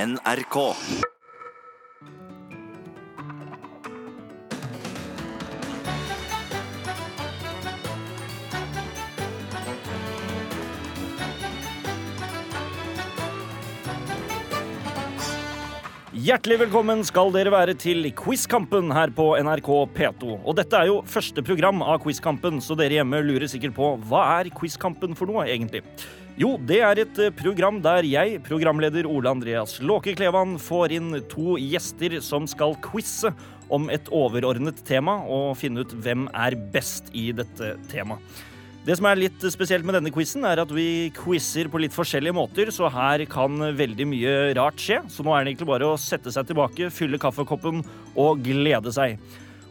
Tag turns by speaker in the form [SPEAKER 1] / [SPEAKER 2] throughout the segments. [SPEAKER 1] NRK.
[SPEAKER 2] Hjertelig velkommen skal dere være til Quizkampen her på NRK P2. Og dette er jo første program av Quizkampen, så dere hjemme lurer sikkert på hva er Quizkampen for noe, egentlig? Jo, det er et eh, program der jeg, programleder Ole Andreas Låke Klevan, får inn to gjester som skal quize om et overordnet tema og finne ut hvem er best i dette temaet. Det som er litt spesielt med denne quizen, er at vi quizer på litt forskjellige måter, så her kan veldig mye rart skje. Så nå er det egentlig bare å sette seg tilbake, fylle kaffekoppen og glede seg.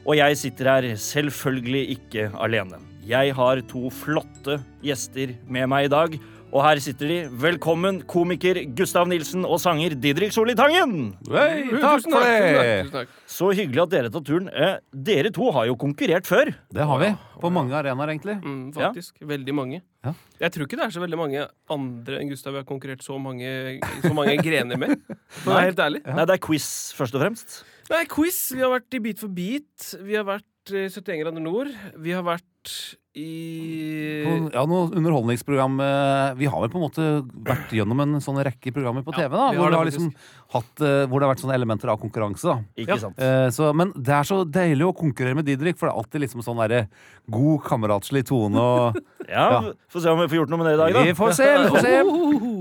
[SPEAKER 2] Og jeg sitter her selvfølgelig ikke alene. Jeg har to flotte gjester med meg i dag. Og her sitter de. Velkommen, komiker Gustav Nilsen og sanger Didrik Solli Tangen!
[SPEAKER 3] Hei, takk for det!
[SPEAKER 2] Så hyggelig at dere tar turen. Eh, dere to har jo konkurrert før.
[SPEAKER 3] Det har vi. På mange arenaer, egentlig.
[SPEAKER 4] Mm, faktisk. Veldig mange.
[SPEAKER 3] Ja.
[SPEAKER 4] Jeg tror ikke det er så veldig mange andre enn Gustav vi har konkurrert så mange, i så mange grener med. For å være helt ærlig.
[SPEAKER 2] Nei, det er quiz, først og fremst.
[SPEAKER 4] Nei, quiz. Vi har vært i Beat for beat. Vi har vært eh, 71 grader nord. Vi har vært
[SPEAKER 3] På,
[SPEAKER 4] i
[SPEAKER 3] ja, noe underholdningsprogram eh, Vi har vel på en måte vært gjennom en sånn rekke programmer på TV, da,
[SPEAKER 4] vi
[SPEAKER 3] hvor, det
[SPEAKER 4] har det
[SPEAKER 3] har liksom hatt, eh, hvor det har vært sånne elementer av konkurranse. da
[SPEAKER 2] Ikke
[SPEAKER 4] Ja.
[SPEAKER 2] sant?
[SPEAKER 3] Eh, så, men det er så deilig å konkurrere med Didrik, for det er alltid liksom sånn derre god kameratslig tone og
[SPEAKER 2] Ja,
[SPEAKER 3] Ja.
[SPEAKER 2] Få se om vi får gjort noe med det i dag, da.
[SPEAKER 3] Vi får se! Vi får se.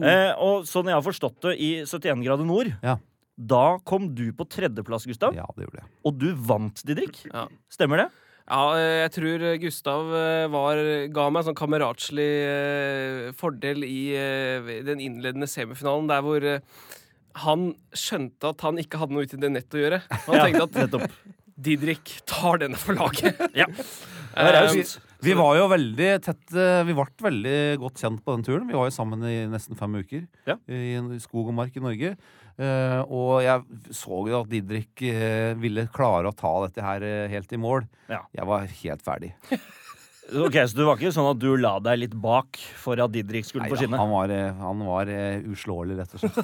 [SPEAKER 2] Eh, og sånn jeg har forstått det, i 71 grader nord
[SPEAKER 3] Ja.
[SPEAKER 2] Da kom du på tredjeplass, Gustav,
[SPEAKER 3] Ja, det gjorde jeg.
[SPEAKER 2] og du vant, Didrik.
[SPEAKER 4] Ja.
[SPEAKER 2] Stemmer det?
[SPEAKER 4] Ja, eh, jeg tror Gustav eh, var, ga meg en sånn kameratslig eh, fordel i eh, den innledende semifinalen, der hvor eh, han skjønte at han ikke hadde noe ute i det nettet å gjøre. Han
[SPEAKER 2] Ja,
[SPEAKER 4] tenkte at
[SPEAKER 2] nettopp.
[SPEAKER 4] Didrik tar denne for laget.
[SPEAKER 2] Ja.
[SPEAKER 4] Eh,
[SPEAKER 2] Det er raust.
[SPEAKER 3] Ehm, Vi var jo veldig tett eh, Vi ble veldig godt kjent på den turen. Vi var jo sammen i nesten fem uker
[SPEAKER 2] Ja.
[SPEAKER 3] i en skog og mark i Norge. Eh, og jeg så jo at Didrik eh, ville klare å ta dette her eh, helt i mål.
[SPEAKER 2] Ja.
[SPEAKER 3] Jeg var helt ferdig.
[SPEAKER 2] Ok, Så du var ikke sånn at du la deg litt bak for at Didrik skulle få
[SPEAKER 3] Neida,
[SPEAKER 2] skinne?
[SPEAKER 3] han var, eh, han var eh, uslåelig, rett og slett.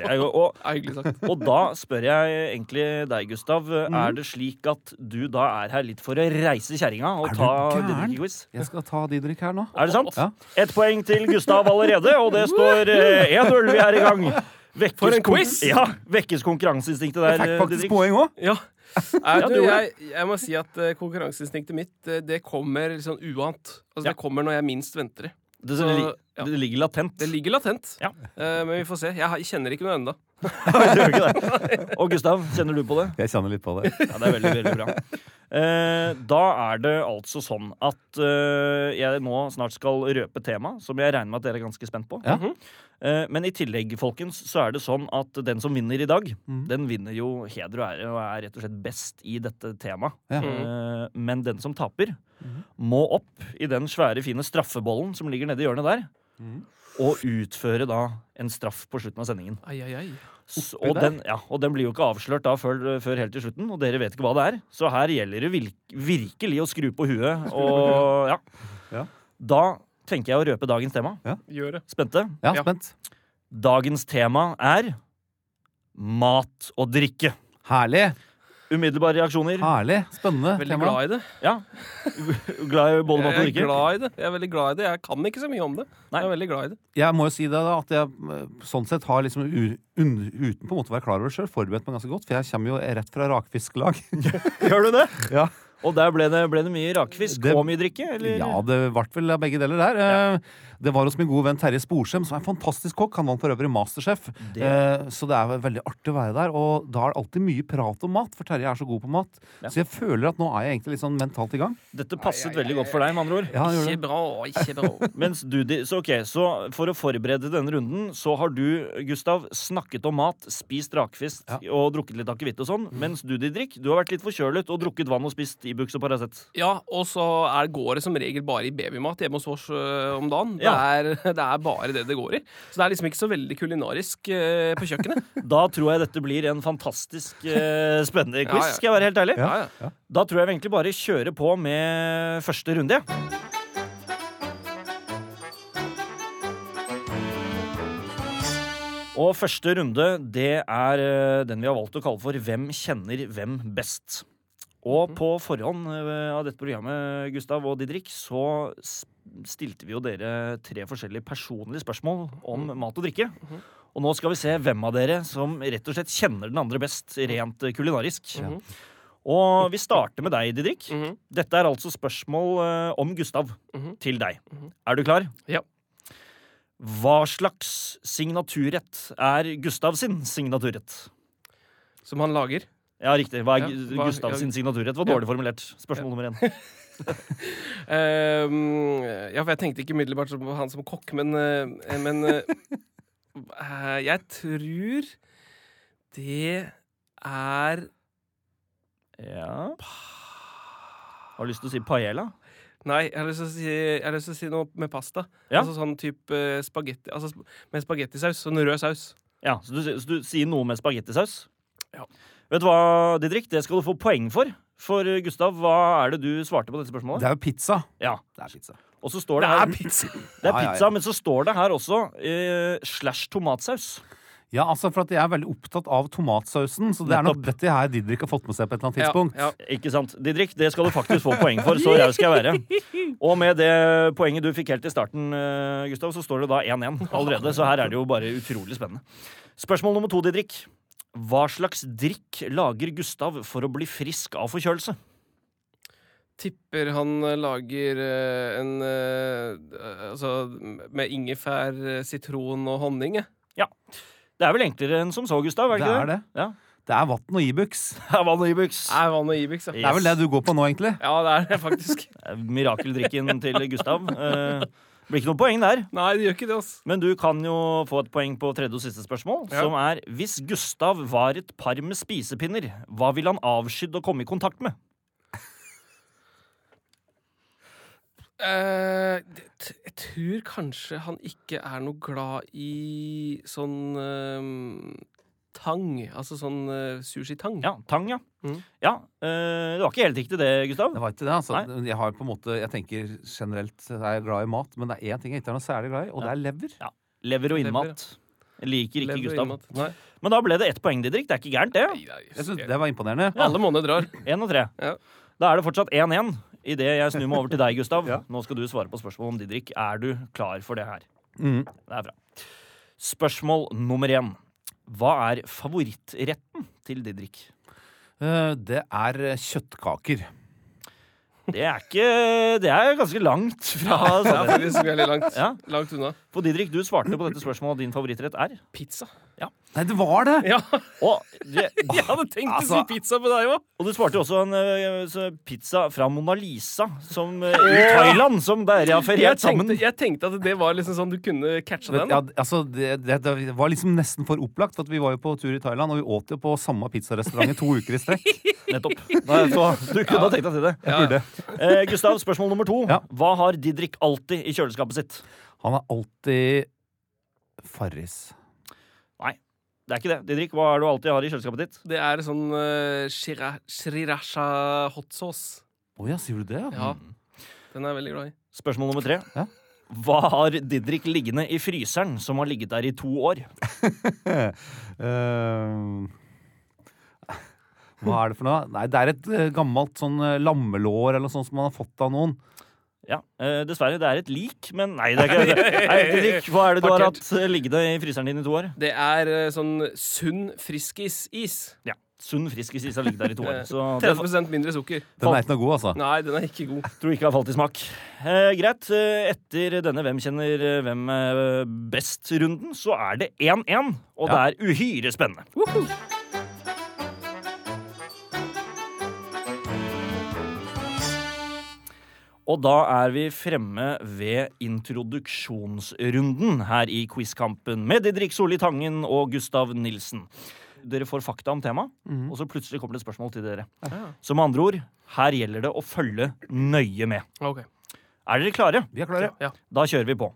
[SPEAKER 2] Det er jo, og,
[SPEAKER 4] Ja, Eh, hyggelig sagt.
[SPEAKER 2] og da spør jeg egentlig deg, Gustav.
[SPEAKER 3] Mm.
[SPEAKER 2] Er det slik at du da er her litt for å reise kjerringa
[SPEAKER 3] Er
[SPEAKER 2] og
[SPEAKER 3] du
[SPEAKER 2] ta
[SPEAKER 3] gæren?
[SPEAKER 2] Didrik i quiz?
[SPEAKER 3] Jeg skal ta Didrik her nå.
[SPEAKER 2] Er det sant?
[SPEAKER 3] Ja.
[SPEAKER 2] Ett poeng til Gustav allerede, og det står eh, 1-0. Vi er i gang. Vekkes
[SPEAKER 4] For en
[SPEAKER 2] kon-
[SPEAKER 4] quiz!
[SPEAKER 2] Ja, Vekkes konkurranseinstinktet der,
[SPEAKER 3] Jeg fikk
[SPEAKER 2] eh,
[SPEAKER 3] faktisk
[SPEAKER 2] Didrik.
[SPEAKER 3] poeng òg.
[SPEAKER 4] Ja.
[SPEAKER 2] Ja,
[SPEAKER 4] Jeg,
[SPEAKER 2] du
[SPEAKER 4] tror,
[SPEAKER 2] gjorde
[SPEAKER 4] jeg, jeg må si at eh, konkurranseinstinktet mitt, eh, det kommer litt sånn uant. Altså,
[SPEAKER 2] Ja.
[SPEAKER 4] Det kommer når jeg minst venter det.
[SPEAKER 2] Det,
[SPEAKER 4] Så,
[SPEAKER 2] li-
[SPEAKER 4] ja.
[SPEAKER 2] det ligger latent.
[SPEAKER 4] Det ligger latent,
[SPEAKER 2] Ja.
[SPEAKER 4] Eh, men vi får se. Jeg, har- jeg kjenner ikke noe ennå.
[SPEAKER 2] Det gjør ikke det. Og Gustav, kjenner du på det?
[SPEAKER 3] Jeg kjenner litt på det.
[SPEAKER 2] Ja, det er veldig, veldig bra. Eh, da er det altså sånn at eh, jeg nå snart skal røpe tema, som jeg regner med at dere er ganske spent på.
[SPEAKER 3] Ja.
[SPEAKER 2] Mhm. Eh, men i tillegg, folkens, så er det sånn at den som vinner i dag,
[SPEAKER 3] Mhm.
[SPEAKER 2] den vinner jo heder og ære og er rett og slett best i dette temaet.
[SPEAKER 3] Ja.
[SPEAKER 4] Mm.
[SPEAKER 2] Eh, men den som taper, må opp i den svære, fine straffebollen som ligger nede i hjørnet der,
[SPEAKER 4] Mm.
[SPEAKER 2] og utføre da en straff på slutten av sendingen.
[SPEAKER 4] Ai, ai, ai.
[SPEAKER 2] S- Og
[SPEAKER 3] der?
[SPEAKER 2] den, ja, og den blir jo ikke avslørt da før, før helt til slutten, og dere vet ikke hva det er. Så her gjelder det virk- virkelig å skru på huet. Og, ja.
[SPEAKER 3] Ja.
[SPEAKER 2] Da tenker jeg å røpe dagens tema.
[SPEAKER 4] Gjør det.
[SPEAKER 2] Spente?
[SPEAKER 3] Ja,
[SPEAKER 4] Ja.
[SPEAKER 3] spent.
[SPEAKER 2] Dagens tema er mat og drikke.
[SPEAKER 3] Herlig.
[SPEAKER 2] Umiddelbare reaksjoner.
[SPEAKER 3] Herlig. Spennende.
[SPEAKER 4] Veldig
[SPEAKER 3] tema.
[SPEAKER 4] glad i det.
[SPEAKER 2] Ja. Glad i både mat og
[SPEAKER 4] Jeg er
[SPEAKER 2] drikke?
[SPEAKER 4] glad i det. Jeg er veldig glad i det. Jeg kan ikke så mye om det.
[SPEAKER 2] Nei.
[SPEAKER 4] Jeg er veldig glad i det.
[SPEAKER 3] jeg må jo si det da, at jeg eh, sånn sett har liksom u un uten på en måte å være klar over det sjøl forberedt meg ganske godt, for jeg kommer jo rett fra rakfisklag.
[SPEAKER 2] Gjør du det?
[SPEAKER 3] ja.
[SPEAKER 2] Og der ble det, ble det mye rakfisk
[SPEAKER 3] Det-
[SPEAKER 2] og mye drikke? Eller?
[SPEAKER 3] ja, det ble vel av begge deler der. Eh, Det var hos min gode venn Terje Sporsem, som er en fantastisk kokk. Han vant for øvrig Masterchef.
[SPEAKER 2] Det-
[SPEAKER 3] Eh, Så det er veldig artig å være der. Og da er det alltid mye prat om mat, for Terje er så god på mat.
[SPEAKER 2] Ja.
[SPEAKER 3] Så jeg føler at nå er jeg egentlig litt sånn mentalt i gang.
[SPEAKER 2] Dette passet veldig godt for deg, med andre ord.
[SPEAKER 3] Ja, han gjør det.
[SPEAKER 4] Ikke bra, ikke bra.
[SPEAKER 2] Mens du, Di- så ok, så For å forberede denne runden så har du, Gustav, snakket om mat, spist rakfisk
[SPEAKER 3] Ja. Mm.
[SPEAKER 2] og drukket litt akevitt og sånn. Mens du, Didrik, du har vært litt forkjølet og drukket vann og spist Ibux og Paracet.
[SPEAKER 4] Ja, og så er, går det som regel bare i babymat hjemme hos oss øh, om dagen. Det,
[SPEAKER 2] Ja.
[SPEAKER 4] er, det er bare det det går i. Så det er liksom ikke så veldig kulinarisk øh, på kjøkkenet.
[SPEAKER 2] Da tror jeg dette blir en fantastisk eh, spennende
[SPEAKER 4] Ja,
[SPEAKER 2] quiz,
[SPEAKER 4] ja.
[SPEAKER 2] skal jeg være helt ærlig.
[SPEAKER 3] Ja.
[SPEAKER 4] Ja, ja.
[SPEAKER 2] Da tror jeg vi egentlig bare kjører på med første runde. jeg. Og første runde, det er eh, den vi har valgt å kalle for Hvem kjenner hvem best? Og på forhånd eh, av dette programmet, Gustav og Didrik, så s- stilte vi jo dere tre forskjellige personlige spørsmål om mat og drikke. Og nå skal vi se hvem av dere som rett og slett kjenner den andre best, rent eh, kulinarisk.
[SPEAKER 4] Mhm.
[SPEAKER 2] Og vi starter med deg, Didrik.
[SPEAKER 4] Mhm.
[SPEAKER 2] Dette er altså spørsmål eh, om Gustav
[SPEAKER 4] Mhm.
[SPEAKER 2] til deg.
[SPEAKER 4] Mhm.
[SPEAKER 2] Er du klar?
[SPEAKER 4] Ja.
[SPEAKER 2] Hva slags signaturrett er Gustav sin signaturrett?
[SPEAKER 4] Som han lager.
[SPEAKER 2] Ja, riktig. Hva er
[SPEAKER 4] Ja,
[SPEAKER 2] Gu-
[SPEAKER 4] hva-
[SPEAKER 2] Gustav
[SPEAKER 4] ja.
[SPEAKER 2] sin signaturrett? Var
[SPEAKER 4] Ja.
[SPEAKER 2] dårlig formulert. Spørsmål nummer én.
[SPEAKER 4] Ehm, ja, for jeg tenkte ikke umiddelbart som- på han som kokk, men, eh, men eh, eh, Jeg tror det er
[SPEAKER 2] Ja. Har du lyst til å si paella?
[SPEAKER 4] Nei, jeg har lyst til å si, jeg har lyst til å si noe med pasta.
[SPEAKER 2] Ja.
[SPEAKER 4] Altså sånn type eh, spagetti Altså sp- med spagettisaus. Sånn rød saus.
[SPEAKER 2] Ja, så du, så du sier noe med spagettisaus?
[SPEAKER 4] Ja.
[SPEAKER 2] Vet du hva, Didrik? Det skal du få poeng for. For eh, Gustav, hva er det du svarte på dette spørsmålet?
[SPEAKER 3] Det er jo pizza.
[SPEAKER 2] Ja,
[SPEAKER 3] Det er pizza.
[SPEAKER 2] Og så står
[SPEAKER 4] Det
[SPEAKER 2] det her
[SPEAKER 4] er pizza!
[SPEAKER 2] Det er
[SPEAKER 3] Ja, ja, ja.
[SPEAKER 2] pizza, men så står det her også eh, slash tomatsaus.
[SPEAKER 3] Ja, altså, for at jeg er veldig opptatt av tomatsausen, så det er nok dette her Didrik har fått med seg på et eller annet tidspunkt.
[SPEAKER 4] Ja, ja.
[SPEAKER 2] Ikke sant? Didrik, det skal du faktisk få poeng for. Så raus skal jeg være. Og med det poenget du fikk helt i starten, eh, Gustav, så står det da 1-1 allerede. Så her er det jo bare utrolig spennende. Spørsmål nummer to, Didrik. Hva slags drikk lager Gustav for å bli frisk av forkjølelse?
[SPEAKER 4] Tipper han eh, lager eh, en eh, Altså med ingefær, eh, sitron og honning, jeg.
[SPEAKER 2] Det er vel enklere enn som så, Gustav? er
[SPEAKER 3] Det
[SPEAKER 2] ikke
[SPEAKER 3] er det.
[SPEAKER 2] Ja.
[SPEAKER 3] Det er vann og Ibux.
[SPEAKER 2] Det er vann og Ibux.
[SPEAKER 4] Er vann og Ibix, ja.
[SPEAKER 3] Det er vel det du går på nå, egentlig?
[SPEAKER 4] Ja, det er det faktisk.
[SPEAKER 2] Eh, Mirakeldrikken til Gustav. Eh, blir ikke noe poeng der.
[SPEAKER 4] Nei, det gjør ikke det, altså.
[SPEAKER 2] Men du kan jo få et poeng på tredje og siste spørsmål,
[SPEAKER 4] Ja.
[SPEAKER 2] som er Hvis Gustav var et par med spisepinner, hva ville han avskydd å komme i kontakt med?
[SPEAKER 4] Eh, det- t- jeg tror kanskje han ikke er noe glad i sånn eh, tang. Altså sånn eh, sushitang.
[SPEAKER 2] Ja, tang, ja.
[SPEAKER 4] Mhm.
[SPEAKER 2] Ja, eh, Det var ikke helt riktig det, Gustav.
[SPEAKER 3] Det var ikke det, altså. Jeg har på en måte, jeg tenker generelt er jeg glad i mat, men det er én ting jeg ikke er noe særlig glad i, og det er lever.
[SPEAKER 2] Lever og
[SPEAKER 4] Lever,
[SPEAKER 2] innmat. Jeg liker ikke
[SPEAKER 4] Lever og
[SPEAKER 2] Gustav.
[SPEAKER 4] innmat. Nei.
[SPEAKER 2] Men da ble det ett poeng, Didrik. Det er ikke gærent, det.
[SPEAKER 4] Nei, nei,
[SPEAKER 3] Jeg synes
[SPEAKER 4] jeg-
[SPEAKER 3] Det var imponerende.
[SPEAKER 4] Alle måneder drar.
[SPEAKER 2] Én og tre.
[SPEAKER 4] Ja.
[SPEAKER 2] Da er det fortsatt 1-1 idet jeg snur meg over til deg, Gustav. Nå skal du svare på spørsmålet om Didrik. Er du klar for det her?
[SPEAKER 3] Mhm.
[SPEAKER 2] Det er bra. Spørsmål nummer én. Hva er favorittretten til Didrik?
[SPEAKER 3] Eh, Det er eh, kjøttkaker.
[SPEAKER 2] Det er ikke Det er ganske langt fra
[SPEAKER 4] Det er
[SPEAKER 2] sannheten.
[SPEAKER 4] faktisk veldig langt,
[SPEAKER 2] Ja.
[SPEAKER 4] langt unna.
[SPEAKER 2] For Didrik, du svarte på dette spørsmålet, og din favorittrett er
[SPEAKER 4] Pizza.
[SPEAKER 3] Nei, det var det!
[SPEAKER 4] Ja,
[SPEAKER 2] Og, det,
[SPEAKER 4] jeg hadde tenkt å
[SPEAKER 3] Altså-
[SPEAKER 4] si pizza på deg òg!
[SPEAKER 2] og du svarte jo også en eh, så pizza fra Mona Lisa som, eh, i Thailand, som dere har
[SPEAKER 4] Jeg,
[SPEAKER 2] feriert sammen.
[SPEAKER 4] tenkte- jeg tenkte at det var liksom sånn du kunne catcha
[SPEAKER 3] Vet-
[SPEAKER 4] den.
[SPEAKER 3] Ja,
[SPEAKER 4] da.
[SPEAKER 3] altså, det, det, det var liksom nesten for opplagt, for at vi var jo på tur i Thailand, og vi åt jo på samme pizzarestaurant i to uker i strekk.
[SPEAKER 2] Nettopp. Nei, så du kunne ha tenkt deg til det.
[SPEAKER 4] Ja, ja.
[SPEAKER 2] Eh, Gustav, spørsmål nummer to.
[SPEAKER 3] Ja.
[SPEAKER 2] Hva har Didrik alltid i kjøleskapet sitt?
[SPEAKER 3] Han er alltid Farris.
[SPEAKER 2] Det er ikke det. Didrik, hva er det du alltid har i kjøleskapet ditt?
[SPEAKER 4] Det er sånn uh, sriracha hot sauce.
[SPEAKER 3] Å ja, sier du det? Ja.
[SPEAKER 4] Ja, den er jeg veldig glad i.
[SPEAKER 2] Spørsmål nummer tre.
[SPEAKER 3] Ja.
[SPEAKER 2] Hva har Didrik liggende i fryseren som har ligget der i to år?
[SPEAKER 3] Eh, hva er det for noe? Nei, det er et eh, gammelt sånn eh, lammelår eller sånn som man har fått av noen.
[SPEAKER 2] Ja, eh, Dessverre, det er et lik, men nei, det er ikke det. Nei, Didrik, hva er det du har hatt eh, liggende i fryseren din i to år?
[SPEAKER 4] Det er eh, sånn sunn friskis-is.
[SPEAKER 2] Ja. Sunn, frisk is har ligget der i to år. Så det
[SPEAKER 4] 30 mindre sukker.
[SPEAKER 3] Den er ikke noe god, altså.
[SPEAKER 4] Nei, den er ikke god.
[SPEAKER 2] tror jeg ikke har falt i smak. Eh, greit. eh, Etter denne Hvem kjenner eh, hvem eh, best-runden, så er det 1-1, og
[SPEAKER 3] Ja.
[SPEAKER 2] det er uhyre spennende. Og da er vi fremme ved introduksjonsrunden her i Quizkampen med Didrik Solli Tangen og Gustav Nilsen. Dere får fakta om temaet, og så plutselig kommer det et spørsmål til dere. Så med andre ord, her gjelder det å følge nøye med.
[SPEAKER 4] Ok.
[SPEAKER 2] Er dere klare?
[SPEAKER 3] Vi er klare.
[SPEAKER 4] Ja.
[SPEAKER 2] Da kjører vi på.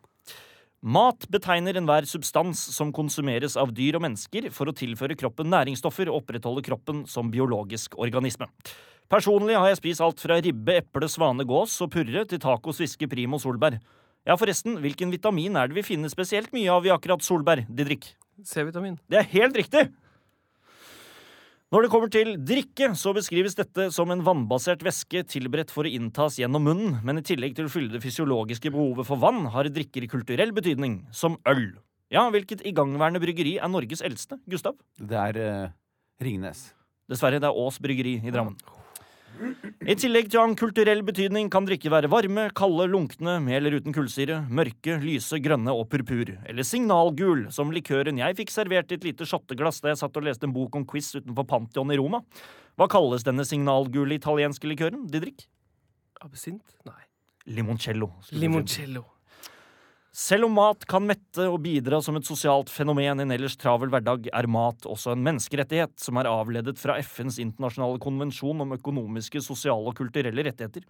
[SPEAKER 2] Mat betegner enhver substans som konsumeres av dyr og mennesker for å tilføre kroppen næringsstoffer og opprettholde kroppen som biologisk organisme. Personlig har jeg spist alt fra ribbe, eple, svane, gås og purre til taco, sviske, prim og solbær. Ja, forresten, hvilken vitamin er det vi finner spesielt mye av i akkurat solbær, Didrik?
[SPEAKER 4] C-vitamin.
[SPEAKER 2] Det er helt riktig! Når det kommer til drikke, så beskrives dette som en vannbasert væske tilberedt for å inntas gjennom munnen, men i tillegg til å fylle det fysiologiske behovet for vann, har drikker kulturell betydning, som øl. Ja, hvilket igangværende bryggeri er Norges eldste, Gustav?
[SPEAKER 3] Det er eh, Ringnes.
[SPEAKER 2] Dessverre, det er Ås bryggeri i Drammen. I tillegg til å ha en kulturell betydning kan drikke være varme, kalde, lunkne, med eller uten kullsyre, mørke, lyse, grønne og purpur. Eller signalgul, som likøren jeg fikk servert i et lite shotteglass da jeg satt og leste en bok om quiz utenfor Pantheon i Roma. Hva kalles denne signalgule italienske likøren, Didrik?
[SPEAKER 4] Absint? Nei.
[SPEAKER 2] Limoncello. skulle jeg si.
[SPEAKER 4] Limoncello.
[SPEAKER 2] Selv om mat kan mette og bidra som et sosialt fenomen i en ellers travel hverdag, er mat også en menneskerettighet som er avledet fra FNs internasjonale konvensjon om økonomiske, sosiale og kulturelle rettigheter.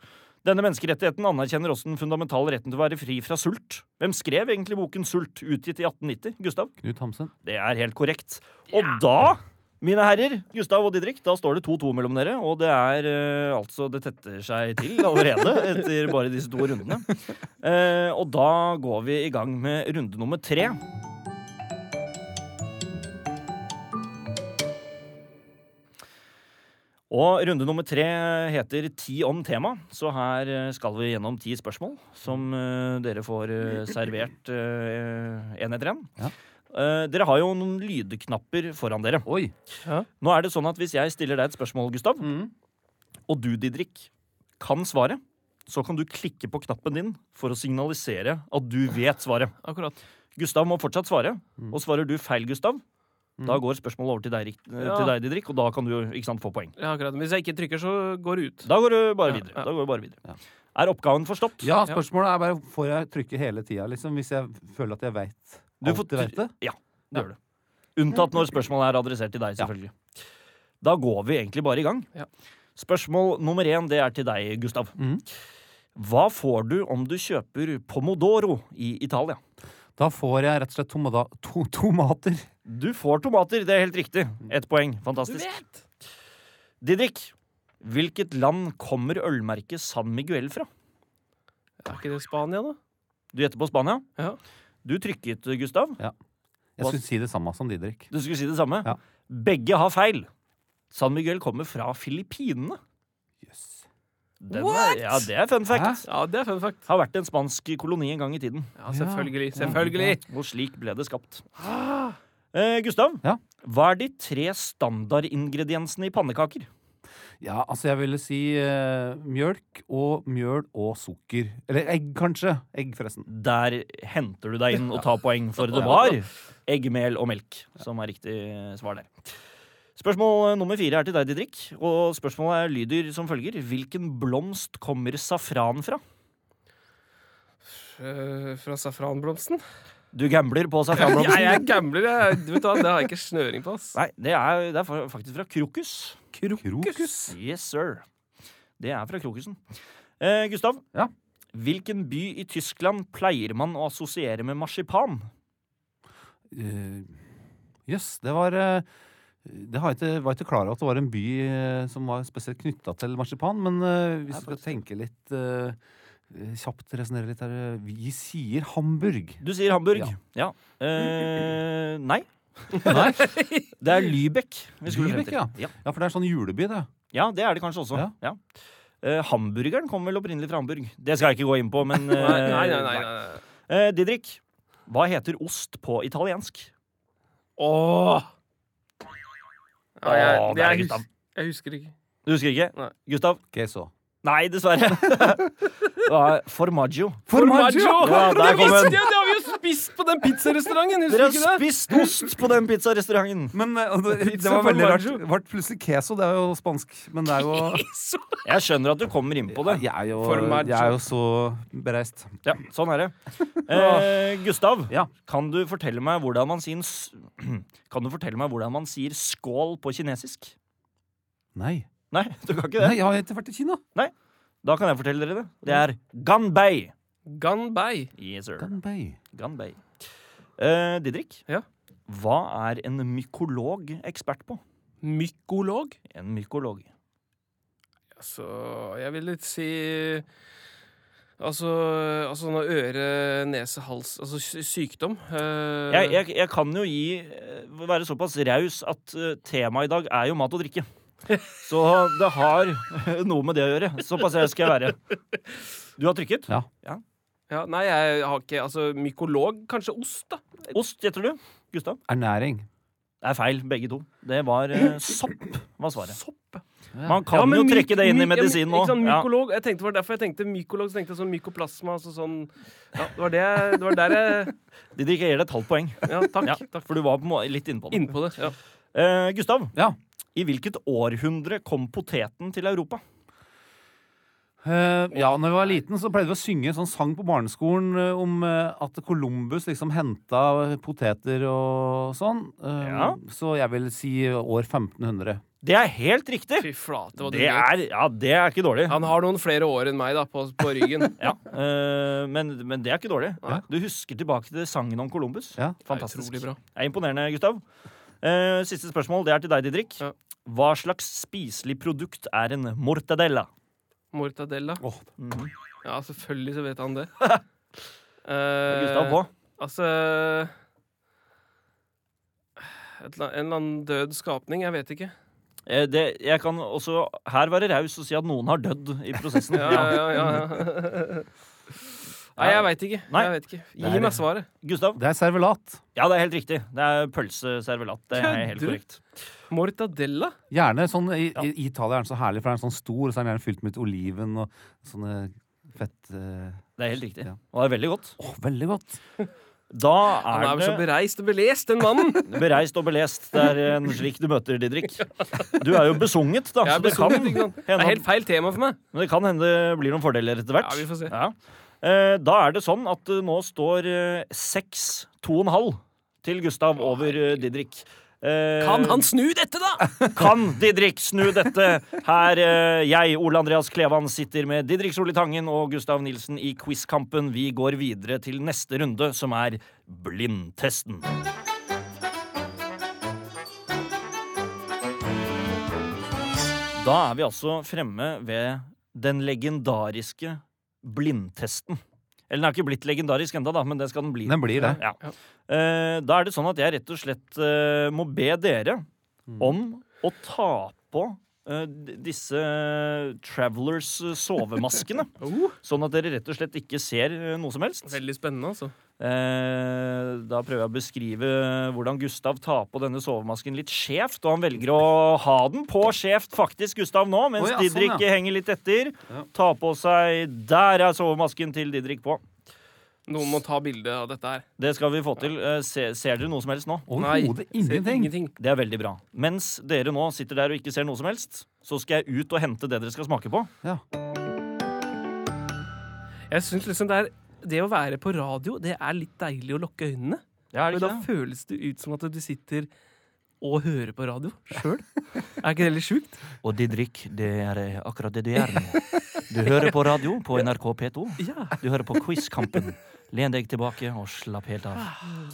[SPEAKER 2] Denne menneskerettigheten anerkjenner også den fundamentale retten til å være fri fra sult. Hvem skrev egentlig boken Sult, utgitt i 1890? Gustav?
[SPEAKER 3] Knut Hamsen.
[SPEAKER 2] Det er helt korrekt. Og da, mine herrer, Gustav og Didrik, da står det 2-2 mellom dere. Og det er eh, altså Det tetter seg til allerede etter bare disse to rundene. Eh, og da går vi i gang med runde nummer tre. Og runde nummer tre heter Ti om tema, så her eh, skal vi gjennom ti spørsmål som eh, dere får eh, servert eh, en etter en. Eh, dere har jo noen lydknapper foran dere.
[SPEAKER 3] Oi!
[SPEAKER 2] Nå er det sånn at Hvis jeg stiller deg et spørsmål, Gustav,
[SPEAKER 4] Mm.
[SPEAKER 2] og du, Didrik, kan svaret, så kan du klikke på knappen din for å signalisere at du vet svaret.
[SPEAKER 4] Akkurat.
[SPEAKER 2] Gustav må fortsatt svare,
[SPEAKER 4] Mm.
[SPEAKER 2] og svarer du feil, Gustav, da går spørsmålet over til deg, Rik- eh,
[SPEAKER 4] Ja.
[SPEAKER 2] til deg Didrik, og da kan du ikke sant, få poeng.
[SPEAKER 4] Ja, akkurat. Men hvis jeg ikke trykker, så går det ut.
[SPEAKER 2] Da går du bare
[SPEAKER 4] Ja,
[SPEAKER 2] videre.
[SPEAKER 4] ja.
[SPEAKER 2] Da går du bare videre.
[SPEAKER 3] Ja.
[SPEAKER 2] Er oppgaven forstått?
[SPEAKER 3] Ja, spørsmålet er bare får jeg trykke hele tida, liksom, hvis jeg føler at jeg veit
[SPEAKER 2] Du får
[SPEAKER 3] alt jeg vet det.
[SPEAKER 2] Det gjør du. Unntatt når spørsmålet er adressert til deg, selvfølgelig. Da går vi egentlig bare i gang.
[SPEAKER 4] Ja.
[SPEAKER 2] Spørsmål nummer én det er til deg, Gustav.
[SPEAKER 3] Mhm.
[SPEAKER 2] Hva får du om du kjøper pomodoro i Italia?
[SPEAKER 3] Da får jeg rett og slett tomada, to, tomater.
[SPEAKER 2] Du får tomater, det er helt riktig. Ett poeng. Fantastisk.
[SPEAKER 4] vet!
[SPEAKER 2] Didrik, hvilket land kommer ølmerket San Miguel fra?
[SPEAKER 4] Er ikke det Spania, da?
[SPEAKER 2] Du gjetter på Spania.
[SPEAKER 4] Ja.
[SPEAKER 2] Du trykket, Gustav.
[SPEAKER 3] Jeg
[SPEAKER 2] Hva-
[SPEAKER 3] skulle si det samme som Didrik.
[SPEAKER 2] Du skulle si det samme.
[SPEAKER 3] Ja.
[SPEAKER 2] Begge har feil. San Miguel kommer fra Filippinene.
[SPEAKER 3] Yes.
[SPEAKER 2] Den
[SPEAKER 4] What?
[SPEAKER 2] Er, ja, det er fun fact.
[SPEAKER 3] Hæ?
[SPEAKER 4] Ja, det er fun fact.
[SPEAKER 2] har vært en spansk koloni en gang i tiden.
[SPEAKER 4] Ja, selvfølgelig.
[SPEAKER 3] Ja.
[SPEAKER 4] Selvfølgelig.
[SPEAKER 2] Og slik ble det skapt. Eh, Gustav,
[SPEAKER 3] Ja?
[SPEAKER 2] hva er de tre standardingrediensene i pannekaker?
[SPEAKER 3] Ja, altså jeg ville si eh, mjølk og mjøl og sukker. Eller egg, kanskje. Egg, forresten.
[SPEAKER 2] Der henter du deg inn og tar poeng, for det var eggmel og melk som er riktig svar der. Spørsmål nummer fire er til deg, Didrik. Og spørsmålet er lyder som følger. Hvilken blomst kommer safran fra?
[SPEAKER 4] Eh, fra safranblomsten?
[SPEAKER 2] Du gambler på safranblomsten.
[SPEAKER 4] Jeg, jeg gambler, jeg. Du vet hva, det har jeg ikke snøring på. ass.
[SPEAKER 2] Nei, det er, det er faktisk fra krokus.
[SPEAKER 3] Krokus.
[SPEAKER 2] Yes, sir. Det er fra krokusen. Eh, Gustav,
[SPEAKER 3] Ja?
[SPEAKER 2] hvilken by i Tyskland pleier man å assosiere med marsipan?
[SPEAKER 3] Eh, Jøss, det var eh, Det har jeg ikke, var jeg ikke klar over at det var en by eh, som var spesielt knytta til marsipan. Men eh, hvis vi skal tenke litt eh, eh, kjapt, resonnere litt her eh, Vi sier Hamburg.
[SPEAKER 2] Du sier Hamburg.
[SPEAKER 3] Ja.
[SPEAKER 2] Ja. Eh, nei,
[SPEAKER 3] Nei,
[SPEAKER 2] det er Lübeck. vi skulle frem
[SPEAKER 3] Lübeck,
[SPEAKER 2] til.
[SPEAKER 3] ja.
[SPEAKER 2] ja.
[SPEAKER 3] ja, for det er sånn juleby, det.
[SPEAKER 2] Ja, det er det kanskje også.
[SPEAKER 3] Ja.
[SPEAKER 2] Ja. Eh, hamburgeren kom vel opprinnelig fra Hamburg. Det skal jeg ikke gå inn på, men eh,
[SPEAKER 4] Nei, nei, nei. nei, nei.
[SPEAKER 2] Eh, Didrik, hva heter ost på italiensk?
[SPEAKER 4] Åh! Ja, jeg,
[SPEAKER 2] Åh,
[SPEAKER 4] det
[SPEAKER 2] der,
[SPEAKER 4] jeg,
[SPEAKER 2] Gustav.
[SPEAKER 4] hus jeg husker ikke.
[SPEAKER 2] Du husker ikke?
[SPEAKER 4] Nei.
[SPEAKER 2] Gustav?
[SPEAKER 3] Queso.
[SPEAKER 2] Nei, dessverre. Det var Formaggio. Ja, der
[SPEAKER 4] det
[SPEAKER 2] kom
[SPEAKER 4] visste
[SPEAKER 2] den.
[SPEAKER 4] jeg! Det har vi jo spist på den pizzarestauranten!
[SPEAKER 2] Dere
[SPEAKER 4] Husker du
[SPEAKER 2] har
[SPEAKER 4] ikke det?
[SPEAKER 2] spist ost på den pizzarestauranten.
[SPEAKER 3] Men eh, og det, det
[SPEAKER 4] Pizza
[SPEAKER 3] var veldig rart.
[SPEAKER 4] formaggio.
[SPEAKER 3] Det ble plutselig queso. Det er jo spansk, men det er jo
[SPEAKER 2] Jeg skjønner at du kommer inn på det.
[SPEAKER 3] Jeg er jo,
[SPEAKER 4] Formaggio.
[SPEAKER 3] jeg er jo så bereist.
[SPEAKER 2] Ja, sånn er det. Eh, Gustav,
[SPEAKER 3] Ja.
[SPEAKER 2] kan du fortelle meg hvordan man sier s- Kan du fortelle meg hvordan man sier skål på kinesisk?
[SPEAKER 3] Nei.
[SPEAKER 2] Nei, du kan ikke det?
[SPEAKER 3] Nei, jeg har ikke vært i Kina.
[SPEAKER 2] Da kan jeg fortelle dere det. Det er ganbei.
[SPEAKER 4] Ganbei.
[SPEAKER 2] Yes, sir.
[SPEAKER 3] Ganbei.
[SPEAKER 2] Ganbei. Eh, Didrik,
[SPEAKER 4] Ja.
[SPEAKER 2] hva er en mykolog ekspert på?
[SPEAKER 4] Mykolog.
[SPEAKER 2] En mykolog.
[SPEAKER 4] Altså, jeg vil litt si Altså, altså sånn øre, nese, hals Altså sy- sykdom. Eh,
[SPEAKER 2] Jeg, jeg, jeg kan jo gi eh, være såpass raus at eh, temaet i dag er jo mat og drikke. Så det har eh, noe med det å gjøre. Såpass raus skal jeg være. Du har trykket?
[SPEAKER 3] Ja.
[SPEAKER 4] ja, nei, jeg har ikke Altså mykolog, kanskje ost, da.
[SPEAKER 2] Ost, gjetter du? Gustav?
[SPEAKER 3] Ernæring.
[SPEAKER 2] Det er feil, begge to. Det var eh, sopp, var svaret.
[SPEAKER 4] Sopp.
[SPEAKER 2] Man kan
[SPEAKER 4] men
[SPEAKER 2] jo
[SPEAKER 4] myk-
[SPEAKER 2] trekke det inn i
[SPEAKER 4] myk- ja, men
[SPEAKER 2] medisin
[SPEAKER 4] ikke
[SPEAKER 2] nå.
[SPEAKER 4] sant,
[SPEAKER 2] Ja.
[SPEAKER 4] mykolog, jeg tenkte, Det var derfor jeg tenkte mykolog. Så tenkte jeg sånn mykoplasma. Altså sånn, ja, det, var det, jeg- det var der jeg
[SPEAKER 2] De drikker gir deg et halvt poeng,
[SPEAKER 4] Ja, takk.
[SPEAKER 2] Ja,
[SPEAKER 4] takk.
[SPEAKER 2] for du var på en måte litt inne på det.
[SPEAKER 4] Innpå det. Ja.
[SPEAKER 2] Eh, Gustav,
[SPEAKER 3] Ja.
[SPEAKER 2] i hvilket århundre kom poteten til Europa?
[SPEAKER 3] Eh, ja, når vi var liten, så pleide vi å synge en sånn sang på barneskolen eh, om eh, at Columbus liksom henta poteter og sånn. Eh,
[SPEAKER 2] Ja.
[SPEAKER 3] Så jeg vil si år 1500.
[SPEAKER 2] Det er helt riktig!
[SPEAKER 4] Fy flate, hva du
[SPEAKER 2] Det
[SPEAKER 4] vet.
[SPEAKER 2] er, ja, det er ikke dårlig.
[SPEAKER 4] Han har noen flere år enn meg da, på, på ryggen.
[SPEAKER 2] Ja, eh, men, men det er ikke dårlig.
[SPEAKER 4] Nei.
[SPEAKER 2] Du husker tilbake til sangen om Columbus.
[SPEAKER 3] Ja.
[SPEAKER 2] Fantastisk.
[SPEAKER 4] Utrolig
[SPEAKER 2] Det
[SPEAKER 4] bra.
[SPEAKER 2] er imponerende, Gustav. Eh, siste spørsmål det er til deg, Didrik.
[SPEAKER 4] Ja.
[SPEAKER 2] Hva slags spiselig produkt er en mortadella? Mhm.
[SPEAKER 4] Mortadella.
[SPEAKER 3] Åh,
[SPEAKER 4] Ja, selvfølgelig så vet han det.
[SPEAKER 2] Det er
[SPEAKER 4] Eh,
[SPEAKER 2] Gustav på.
[SPEAKER 4] Altså et eller annet- En eller annen død skapning. Jeg vet ikke.
[SPEAKER 2] Eh, det, jeg kan også her være raus og si at noen har dødd i prosessen.
[SPEAKER 4] Ja, ja, ja, ja. Nei, jeg veit ikke.
[SPEAKER 2] Nei.
[SPEAKER 4] Jeg vet ikke.
[SPEAKER 3] Det
[SPEAKER 4] Gi
[SPEAKER 3] er-
[SPEAKER 4] meg svaret.
[SPEAKER 2] Gustav?
[SPEAKER 3] Det er servelat.
[SPEAKER 2] Ja, det er helt riktig. Det er pølseservelat. Det er helt
[SPEAKER 4] Kødder du?
[SPEAKER 2] korrekt.
[SPEAKER 4] Mortadella?
[SPEAKER 3] Gjerne sånn I,
[SPEAKER 2] Ja.
[SPEAKER 3] i Italia er den så herlig, for den er sånn stor, og så er den gjerne fylt med litt oliven og sånne fett eh,
[SPEAKER 2] Det er helt riktig.
[SPEAKER 3] Ja.
[SPEAKER 2] Og det er veldig godt.
[SPEAKER 3] Åh, veldig godt!
[SPEAKER 2] Da
[SPEAKER 4] Han er
[SPEAKER 2] er
[SPEAKER 4] vel så
[SPEAKER 2] det
[SPEAKER 4] bereist og belest, den mannen!
[SPEAKER 2] Bereist og belest. Det er en slik du møter Didrik. Du er jo besunget, da.
[SPEAKER 4] Jeg
[SPEAKER 2] Så
[SPEAKER 4] er
[SPEAKER 2] det kan
[SPEAKER 4] besunget, ikke sant? Det
[SPEAKER 2] hende at
[SPEAKER 4] er helt feil tema for meg.
[SPEAKER 2] Men det kan hende det blir noen fordeler etter hvert.
[SPEAKER 4] Ja, vi får se.
[SPEAKER 2] Ja. Eh, Da er det sånn at det nå står eh, seks, to og en halv til Gustav over eh, Didrik. Eh,
[SPEAKER 4] Kan han snu dette, da?!
[SPEAKER 2] kan Didrik snu dette? Her eh, jeg, Ole Andreas Klevan, sitter med Didrik Solli Tangen og Gustav Nilsen i Quizkampen. Vi går videre til neste runde, som er blindtesten. Da er vi altså fremme ved den legendariske blindtesten. Eller den er ikke blitt legendarisk enda da, men det skal den bli.
[SPEAKER 3] Den blir det.
[SPEAKER 2] Ja. Eh, Da er det sånn at jeg rett og slett eh, må be dere
[SPEAKER 3] Mm.
[SPEAKER 2] om å ta på eh, d- disse Travelers eh, sovemaskene.
[SPEAKER 4] Oh.
[SPEAKER 2] Sånn at dere rett og slett ikke ser eh, noe som helst.
[SPEAKER 4] Veldig spennende, altså.
[SPEAKER 2] Eh, Da prøver jeg å beskrive hvordan Gustav tar på denne sovemasken litt skjevt. Og han velger å ha den på skjevt, faktisk, Gustav nå, mens
[SPEAKER 3] Å ja, sånn,
[SPEAKER 2] Didrik
[SPEAKER 3] ja.
[SPEAKER 2] henger litt etter.
[SPEAKER 3] Ja.
[SPEAKER 2] Ta på seg Der er sovemasken til Didrik på.
[SPEAKER 4] Noen må ta bilde av dette her.
[SPEAKER 2] Det skal vi få til. Eh, Se, ser dere noe som helst nå?
[SPEAKER 3] Overhodet
[SPEAKER 4] Nei, ser
[SPEAKER 3] ingenting!
[SPEAKER 2] Det er veldig bra. Mens dere nå sitter der og ikke ser noe som helst, så skal jeg ut og hente det dere skal smake på.
[SPEAKER 3] Ja.
[SPEAKER 4] Jeg syns liksom det er Det å være på radio, det er litt deilig å lukke øynene.
[SPEAKER 2] Ja,
[SPEAKER 4] Men da føles det ut som at du sitter og hører på radio sjøl. Er ikke det litt sjukt?
[SPEAKER 2] Og Didrik, det er eh, akkurat det det er nå. Du hører på radio på NRK P2.
[SPEAKER 4] Ja,
[SPEAKER 2] Du hører på Quizkampen. Len deg tilbake og slapp helt av.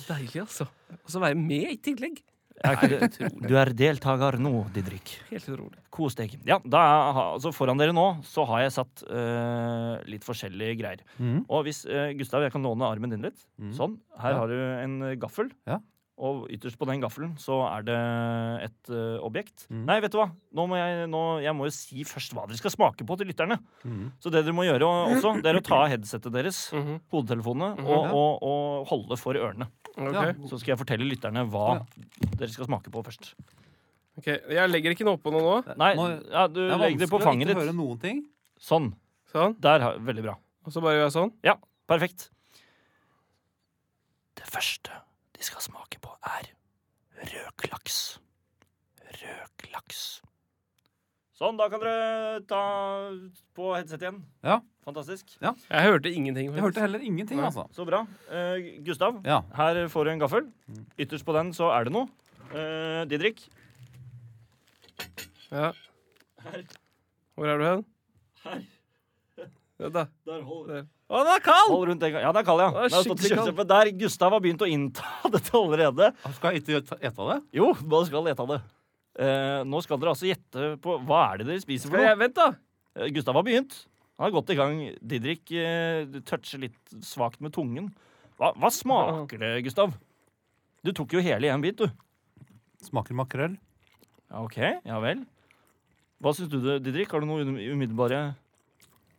[SPEAKER 4] Deilig, altså. Og så være med i tillegg.
[SPEAKER 2] Er ikke det? Du er deltaker nå, Didrik.
[SPEAKER 4] Helt utrolig.
[SPEAKER 2] Kos deg. Ja, da er, ha- altså foran dere nå så har jeg satt eh, litt forskjellige greier.
[SPEAKER 3] Mhm.
[SPEAKER 2] Og hvis, eh, Gustav, jeg kan låne armen din litt. Sånn. Her
[SPEAKER 3] Mm. Ja.
[SPEAKER 2] har du en eh, gaffel.
[SPEAKER 3] Ja.
[SPEAKER 2] Og ytterst på den gaffelen så er det et eh, objekt.
[SPEAKER 3] Mhm.
[SPEAKER 2] Nei, vet du hva? Nå må jeg, nå, jeg må jo si først hva dere skal smake på til lytterne.
[SPEAKER 3] Mhm.
[SPEAKER 2] Så det dere må gjøre o- også, det er å ta av headsetet deres,
[SPEAKER 4] Mhm,
[SPEAKER 2] hodetelefonene, og,
[SPEAKER 3] Mm. Ja.
[SPEAKER 2] og, og holde for ørene.
[SPEAKER 4] Ok.
[SPEAKER 2] Så skal jeg fortelle lytterne hva dere skal smake på først.
[SPEAKER 4] ok. Jeg legger ikke noe oppå noe nå.
[SPEAKER 2] Nei,
[SPEAKER 3] Nå- det
[SPEAKER 2] ja, du
[SPEAKER 3] er
[SPEAKER 2] legger det på
[SPEAKER 3] vanskelig å
[SPEAKER 2] fanget
[SPEAKER 3] ikke
[SPEAKER 2] ditt.
[SPEAKER 3] høre noen ting.
[SPEAKER 2] Sånn.
[SPEAKER 4] Sånn.
[SPEAKER 2] Der, har- veldig bra.
[SPEAKER 4] Og så bare gjør jeg sånn.
[SPEAKER 2] Ja, perfekt. Det første de skal smake på, er rødklaks. Rødklaks. Sånn, da kan dere ta på headset igjen.
[SPEAKER 3] Ja.
[SPEAKER 2] Fantastisk.
[SPEAKER 4] Jeg hørte ingenting.
[SPEAKER 3] Jeg hørte heller ingenting,
[SPEAKER 4] Nei.
[SPEAKER 3] altså.
[SPEAKER 2] Så bra. Eh, Gustav,
[SPEAKER 3] Ja.
[SPEAKER 2] her får du en gaffel. Ytterst på den så er det noe. Eh, Didrik,
[SPEAKER 4] Ja.
[SPEAKER 2] Her.
[SPEAKER 4] Hvor er du hen?
[SPEAKER 2] Her.
[SPEAKER 4] Ja, da.
[SPEAKER 2] der holder
[SPEAKER 4] Der. Å, den er kald!
[SPEAKER 2] Hold rundt den. Ja, det er kald, ja.
[SPEAKER 4] Det er
[SPEAKER 2] Det har stått
[SPEAKER 4] skikkelig kald.
[SPEAKER 2] kjøleskapet Der Gustav har begynt å innta dette allerede.
[SPEAKER 3] Skal jeg ikke ete det?
[SPEAKER 2] Jo, man skal gjette det. Eh, nå skal dere altså gjette på hva er det dere spiser for
[SPEAKER 4] Skal
[SPEAKER 2] noe.
[SPEAKER 4] jeg, vent, da.
[SPEAKER 2] Eh, Gustav har begynt. Han er godt i gang. Didrik eh, toucher litt svakt med tungen. Hva, hva smaker det, Gustav? Du tok jo hele i en bit, du.
[SPEAKER 3] Smaker makrell.
[SPEAKER 2] Ja, OK. Ja vel. Hva syns du, det, Didrik? Har du noe umid- umiddelbare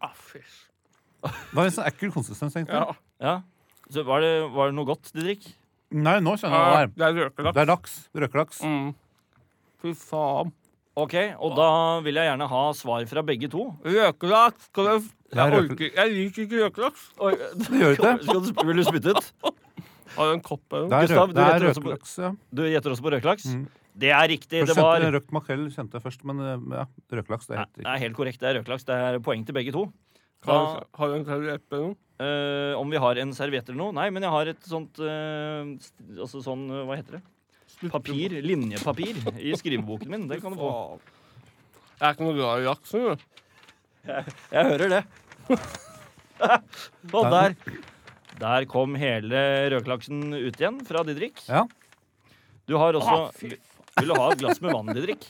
[SPEAKER 4] Ah, fysj.
[SPEAKER 3] Det var en sånn ekkel konsistens, egentlig.
[SPEAKER 4] Ja.
[SPEAKER 2] Ja? Så var, det, var det noe godt, Didrik?
[SPEAKER 3] Nei, nå skjønner jeg hva det
[SPEAKER 4] Ah,
[SPEAKER 3] er.
[SPEAKER 4] det er røkelaks.
[SPEAKER 3] Det er laks. Røkelaks.
[SPEAKER 4] Mm. Fy faen.
[SPEAKER 2] OK, og da vil jeg gjerne ha svar fra begge to.
[SPEAKER 4] Røkelaks! Skal jeg
[SPEAKER 3] Det er
[SPEAKER 4] jeg
[SPEAKER 3] røkel-
[SPEAKER 4] orker Jeg liker ikke røkelaks.
[SPEAKER 2] Oi,
[SPEAKER 3] Det gjør ikke det.
[SPEAKER 2] skal du, vil du spytte ut?
[SPEAKER 4] Har du en kopp her?
[SPEAKER 3] Det er,
[SPEAKER 2] Gustav, du
[SPEAKER 3] rø- det er
[SPEAKER 2] vet også på-
[SPEAKER 3] røkelaks, ja.
[SPEAKER 2] Du gjetter også på røkelaks?
[SPEAKER 3] Mm.
[SPEAKER 2] Det er riktig. Det
[SPEAKER 3] Først
[SPEAKER 2] var
[SPEAKER 3] kjente jeg Røkt makrell kjente jeg først, men eh, ja, røkelaks det er helt
[SPEAKER 2] Det
[SPEAKER 3] riktig.
[SPEAKER 2] er helt korrekt. Det er røkelaks. Det er poeng til begge to.
[SPEAKER 4] Har, du- har du en serviett eller noe?
[SPEAKER 2] Eh, om vi har en serviett eller noe? Nei, men jeg har et sånt eh, st- Altså sånn eh, Hva heter det? Papir. Linjepapir i skriveboken min. Det kan du få.
[SPEAKER 4] Faen. Jeg er ikke noe glad i laks. skjønner du.
[SPEAKER 2] Jeg hører det. Og der Der kom hele røkelaksen ut igjen fra Didrik.
[SPEAKER 3] Ja.
[SPEAKER 2] Du har
[SPEAKER 4] Ah,
[SPEAKER 2] også
[SPEAKER 4] fy faen.
[SPEAKER 2] Vil du ha et glass med vann, Didrik?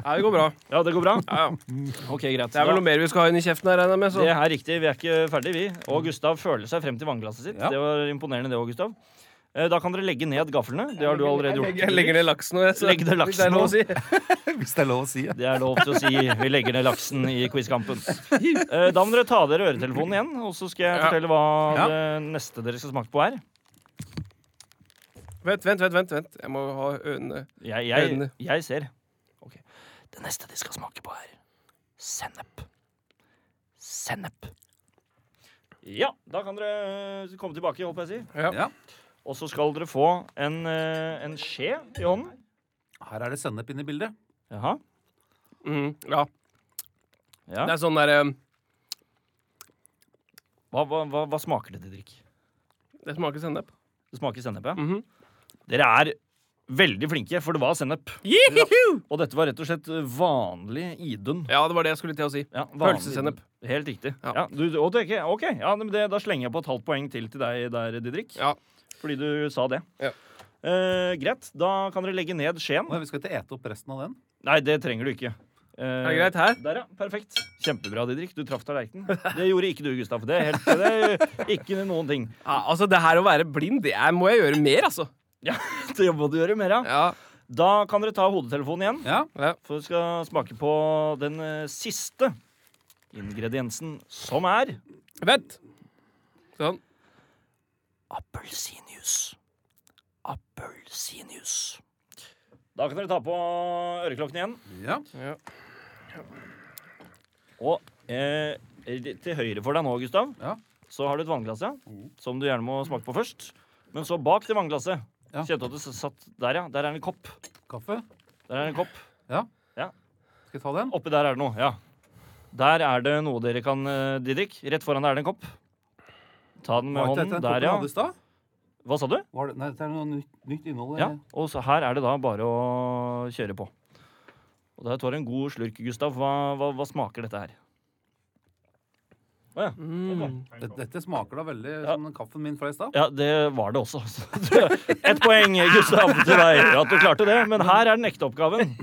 [SPEAKER 4] Nei, det går bra.
[SPEAKER 2] Ja, det går bra?
[SPEAKER 4] Ja, ja.
[SPEAKER 2] OK, greit.
[SPEAKER 4] Det er vel
[SPEAKER 2] Da-
[SPEAKER 4] noe mer vi skal ha inn i kjeften her, regner jeg med. Så.
[SPEAKER 2] Det er riktig. Vi er ikke ferdige, vi.
[SPEAKER 4] Mm.
[SPEAKER 2] Og Gustav føler seg frem til vannglasset sitt.
[SPEAKER 3] Ja.
[SPEAKER 2] Det var imponerende, det òg, Gustav. Eh, Da kan dere legge ned gaflene. Det har du allerede gjort.
[SPEAKER 4] Jeg legger ned laksen nå. jeg, så-
[SPEAKER 2] Legg ned
[SPEAKER 4] hvis det
[SPEAKER 2] laksen
[SPEAKER 4] er lov å
[SPEAKER 2] nå.
[SPEAKER 4] si.
[SPEAKER 3] Hvis det er lov å si. ja.
[SPEAKER 2] Det er lov til å si 'vi legger ned laksen' i quizkampen. Eh, Da må dere ta av dere øretelefonen igjen, og så skal jeg
[SPEAKER 4] Ja.
[SPEAKER 2] fortelle hva
[SPEAKER 3] Ja.
[SPEAKER 2] det neste dere skal smake på, er.
[SPEAKER 4] Vent, vent, vent. vent, vent. Jeg må ha øynene
[SPEAKER 2] Jeg, jeg,
[SPEAKER 4] Øynene.
[SPEAKER 2] jeg ser. Ok. Det neste de skal smake på, er sennep. Sennep. Ja, da kan dere eh, komme tilbake, holdt på å si.
[SPEAKER 4] Ja.
[SPEAKER 3] Ja.
[SPEAKER 2] Og så skal dere få en, eh, en skje i hånden.
[SPEAKER 3] Her er det sennep inne i bildet.
[SPEAKER 2] Jaha.
[SPEAKER 4] Mm, ja.
[SPEAKER 2] Ja.
[SPEAKER 4] Det er sånn derre
[SPEAKER 2] Hva, hva, hva, hva smaker det, Didrik?
[SPEAKER 4] Det smaker sennep.
[SPEAKER 2] Det smaker sennep, ja.
[SPEAKER 4] Mhm.
[SPEAKER 2] Dere er veldig flinke, for det var sennep. Og dette var rett og slett vanlig Idun.
[SPEAKER 4] Ja, det var det jeg skulle til å si.
[SPEAKER 2] Ja, vanlig
[SPEAKER 4] Pølsesennep.
[SPEAKER 2] Idun. Helt riktig. Ja.
[SPEAKER 4] Ja.
[SPEAKER 2] du, og det er ikke, ok, ja, men det, Da slenger jeg på et halvt poeng til til deg der, Didrik.
[SPEAKER 4] Ja.
[SPEAKER 2] Fordi du sa det.
[SPEAKER 4] Ja.
[SPEAKER 2] Eh, greit, da kan dere legge ned skjeen.
[SPEAKER 3] Oi, Vi skal ikke ete opp resten av den.
[SPEAKER 2] Nei, det trenger du ikke. Eh,
[SPEAKER 4] Er det greit her?
[SPEAKER 2] Der, ja. Perfekt. Kjempebra, Didrik. Du traff tallerkenen. Det gjorde ikke du, Gustav. Det er helt, det er ikke noen ting.
[SPEAKER 4] Ja, altså, det her å være blind, det er, må jeg gjøre mer, altså.
[SPEAKER 2] Det må du gjøre mer av.
[SPEAKER 4] Ja.
[SPEAKER 2] Da kan dere ta hodetelefonen igjen.
[SPEAKER 3] Ja.
[SPEAKER 2] For vi skal smake på den eh, siste ingrediensen, som er
[SPEAKER 4] Vent. Sånn.
[SPEAKER 2] appelsinjuice. Appelsinjuice. Da kan dere ta på øreklokkene igjen.
[SPEAKER 3] ja.
[SPEAKER 4] Ja.
[SPEAKER 2] Og eh, til høyre for deg nå, Gustav,
[SPEAKER 3] Ja. Mm.
[SPEAKER 2] så har du et vannglass, ja. Som du gjerne må smake på først. Men så bak det vannglasset
[SPEAKER 3] Ja.
[SPEAKER 2] Kjente du at det s- satt der, ja? Der er en kopp.
[SPEAKER 3] Kaffe.
[SPEAKER 2] Der er en kopp.
[SPEAKER 3] Skal jeg ta den?
[SPEAKER 2] Oppi der er det noe, ja. Der er det noe dere kan, eh, Didrik. Rett foran der er det en kopp. Ta den med
[SPEAKER 3] Var ikke dette
[SPEAKER 2] hånden.
[SPEAKER 3] den
[SPEAKER 2] Der,
[SPEAKER 3] koppen
[SPEAKER 2] ja.
[SPEAKER 3] hadde i stad?
[SPEAKER 2] Hva sa du?
[SPEAKER 3] Var det, nei, dette er noe nytt, nytt innhold. eh.
[SPEAKER 2] Ja, og så her er det da bare å kjøre på. Og der tar du en god slurk, Gustav. Hva, hva, hva smaker dette her? Å ja.
[SPEAKER 4] Mm.
[SPEAKER 3] Dette, dette smaker da veldig
[SPEAKER 2] Ja.
[SPEAKER 3] som den kaffen min fra i stad.
[SPEAKER 2] ja, det var det også. Ett poeng, Gustav, til deg at du klarte det. Men her er den ekte oppgaven.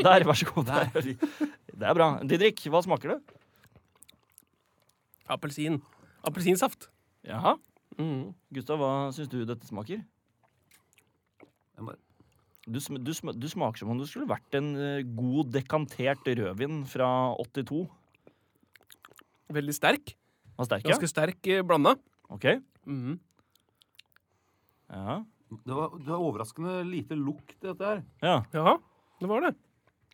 [SPEAKER 2] Der, vær så god. Der. Det er bra. Didrik, hva smaker det?
[SPEAKER 4] Appelsin. Appelsinsaft.
[SPEAKER 2] Jaha.
[SPEAKER 4] Mm.
[SPEAKER 2] Gustav, hva syns du dette smaker?
[SPEAKER 3] Jeg bare-
[SPEAKER 2] Du, sm du, sm du smaker som om du skulle vært en eh, god dekantert rødvin fra 82.
[SPEAKER 4] Veldig sterk.
[SPEAKER 2] Var sterk, ja?
[SPEAKER 4] Ganske sterk eh, blanda.
[SPEAKER 2] OK.
[SPEAKER 4] Mm.
[SPEAKER 2] Ja.
[SPEAKER 3] Det var, det var overraskende lite lukt, i dette her.
[SPEAKER 2] ja.
[SPEAKER 4] Ja, det var det.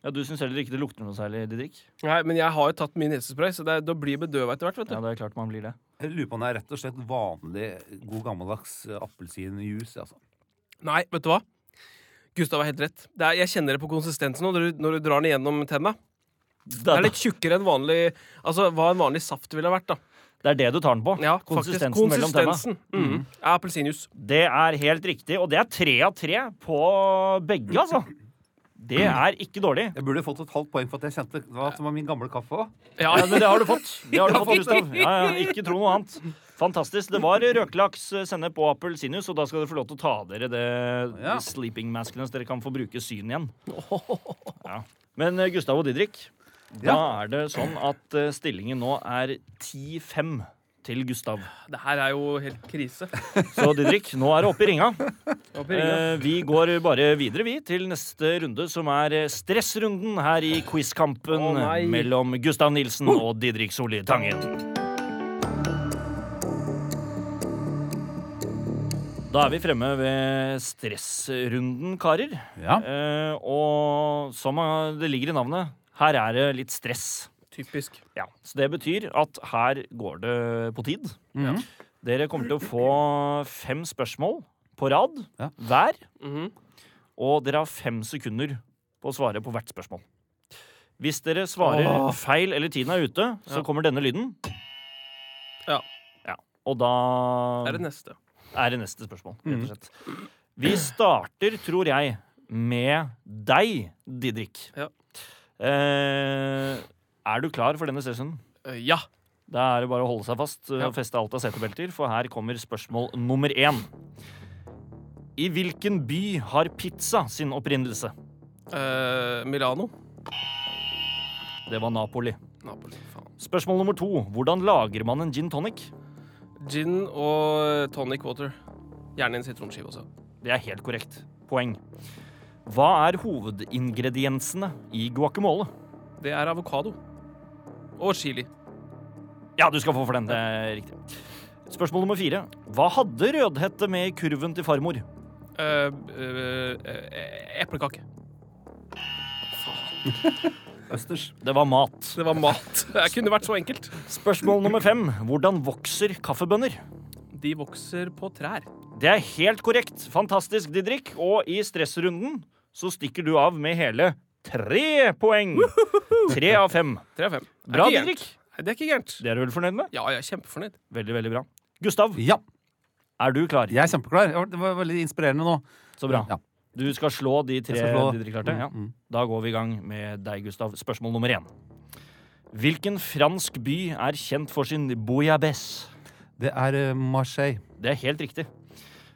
[SPEAKER 2] Ja, Du syns heller ikke det lukter noe særlig, Didrik?
[SPEAKER 4] Nei, men jeg har jo tatt mye nesespray, så det, er- da blir jeg bedøva etter hvert. vet du.
[SPEAKER 2] Ja, det er klart man blir det.
[SPEAKER 3] Jeg lurer på om det er rett og slett vanlig god gammeldags eh, appelsinjuice. Altså.
[SPEAKER 4] Nei, vet du hva? Gustav har helt rett. Det er, jeg kjenner det på konsistensen nå, når du, når du drar den gjennom tenna. Det er litt tjukkere enn vanlig Altså, hva en vanlig saft ville vært, da.
[SPEAKER 2] Det er det du tar den på?
[SPEAKER 4] Ja,
[SPEAKER 2] konsistensen
[SPEAKER 4] faktisk.
[SPEAKER 2] mellom tenna.
[SPEAKER 4] Konsistensen. Mm. Ja, appelsinjuice.
[SPEAKER 2] Det er helt riktig, og det er tre av tre på begge, altså. Det er ikke dårlig.
[SPEAKER 3] Jeg burde fått et halvt poeng for at jeg kjente det var, det var min gamle kaffe òg.
[SPEAKER 4] Ja,
[SPEAKER 2] Ja, men det har du fått. Det har du
[SPEAKER 4] Ja,
[SPEAKER 2] fått,
[SPEAKER 4] fint.
[SPEAKER 2] Gustav. Ja, ja, ikke tro noe annet. Fantastisk. Det var røkelaks, sennep og appelsinjuice, og da skal dere få lov til å ta av dere det,
[SPEAKER 3] Ja.
[SPEAKER 2] de sleeping maskene, så dere kan få bruke syn igjen. Ja. Men eh, Gustav og Didrik, Da er det sånn at eh, stillingen nå er 10-5 til Gustav.
[SPEAKER 4] Det her er jo helt krise.
[SPEAKER 2] Så Didrik, nå er det oppe i ringa.
[SPEAKER 4] Opp i ringa.
[SPEAKER 2] Eh, vi går bare videre, vi, til neste runde, som er eh, stressrunden her i quizkampen
[SPEAKER 4] Å, nei.
[SPEAKER 2] mellom Gustav Nilsen
[SPEAKER 3] Uh.
[SPEAKER 2] og Didrik Solli Tangen. Da er vi fremme ved stressrunden, karer.
[SPEAKER 3] Ja.
[SPEAKER 2] Eh, og som eh, det ligger i navnet, her er det litt stress.
[SPEAKER 4] Typisk.
[SPEAKER 2] Ja, Så det betyr at her går det på tid.
[SPEAKER 3] Mhm.
[SPEAKER 2] Dere kommer til å få fem spørsmål på rad
[SPEAKER 3] Ja.
[SPEAKER 2] hver.
[SPEAKER 4] Mhm.
[SPEAKER 2] Og dere har fem sekunder på å svare på hvert spørsmål. Hvis dere svarer
[SPEAKER 3] Åh.
[SPEAKER 2] feil eller tiden er ute, så
[SPEAKER 4] Ja.
[SPEAKER 2] kommer denne lyden.
[SPEAKER 4] Ja.
[SPEAKER 2] Ja, Og da
[SPEAKER 4] Det Mm. er det neste.
[SPEAKER 2] er det neste spørsmål, rett og slett. Vi starter, tror jeg, med deg, Didrik.
[SPEAKER 4] Ja.
[SPEAKER 2] Eh, er du klar for denne sessionen?
[SPEAKER 4] Eh, Ja.
[SPEAKER 2] Da er det bare å holde seg fast eh,
[SPEAKER 4] Ja.
[SPEAKER 2] og feste alt av setebelter, for her kommer spørsmål nummer én. I hvilken by har pizza sin opprinnelse?
[SPEAKER 4] Eh, Milano.
[SPEAKER 2] Det var Napoli.
[SPEAKER 4] Napoli. Faen.
[SPEAKER 2] Spørsmål nummer to. Hvordan lager man en gin tonic?
[SPEAKER 4] Gin og eh, tonic water. Gjerne en sitronskive også.
[SPEAKER 2] Det er helt korrekt. Poeng. Hva er hovedingrediensene i guacamole?
[SPEAKER 4] Det er avokado. Og chili.
[SPEAKER 2] Ja, du skal få for den. Det er riktig. Spørsmål nummer fire. Hva hadde Rødhette med i kurven til farmor?
[SPEAKER 4] Eh, eh, eh, eplekake. Faen.
[SPEAKER 3] Østers.
[SPEAKER 2] Det var mat.
[SPEAKER 4] Det var mat. Det kunne vært så enkelt.
[SPEAKER 2] Spørsmål nummer fem. Hvordan vokser kaffebønner?
[SPEAKER 4] De vokser på trær.
[SPEAKER 2] Det er helt korrekt. Fantastisk, Didrik. Og i stressrunden så stikker du av med hele tre poeng. Tre av fem.
[SPEAKER 4] Tre av fem. Det er
[SPEAKER 2] Bra,
[SPEAKER 4] ikke gærent.
[SPEAKER 2] Didrik.
[SPEAKER 4] Nei, Det er ikke gærent.
[SPEAKER 2] Det er du vel fornøyd med?
[SPEAKER 4] Ja, jeg er kjempefornøyd.
[SPEAKER 2] Veldig, veldig bra. Gustav,
[SPEAKER 3] Ja,
[SPEAKER 2] er du klar?
[SPEAKER 3] jeg er kjempeklar. Det var- Det var veldig inspirerende nå.
[SPEAKER 2] Så bra.
[SPEAKER 3] Ja.
[SPEAKER 2] Du skal slå de tre
[SPEAKER 3] Jeg skal slå-
[SPEAKER 2] Didrik klarte? Ja.
[SPEAKER 3] Mm, mm.
[SPEAKER 2] Da går vi i gang med deg, Gustav. Spørsmål nummer én. Hvilken fransk by er kjent for sin bouillabaisse?
[SPEAKER 3] Det er eh, Marseille.
[SPEAKER 2] Det er helt riktig.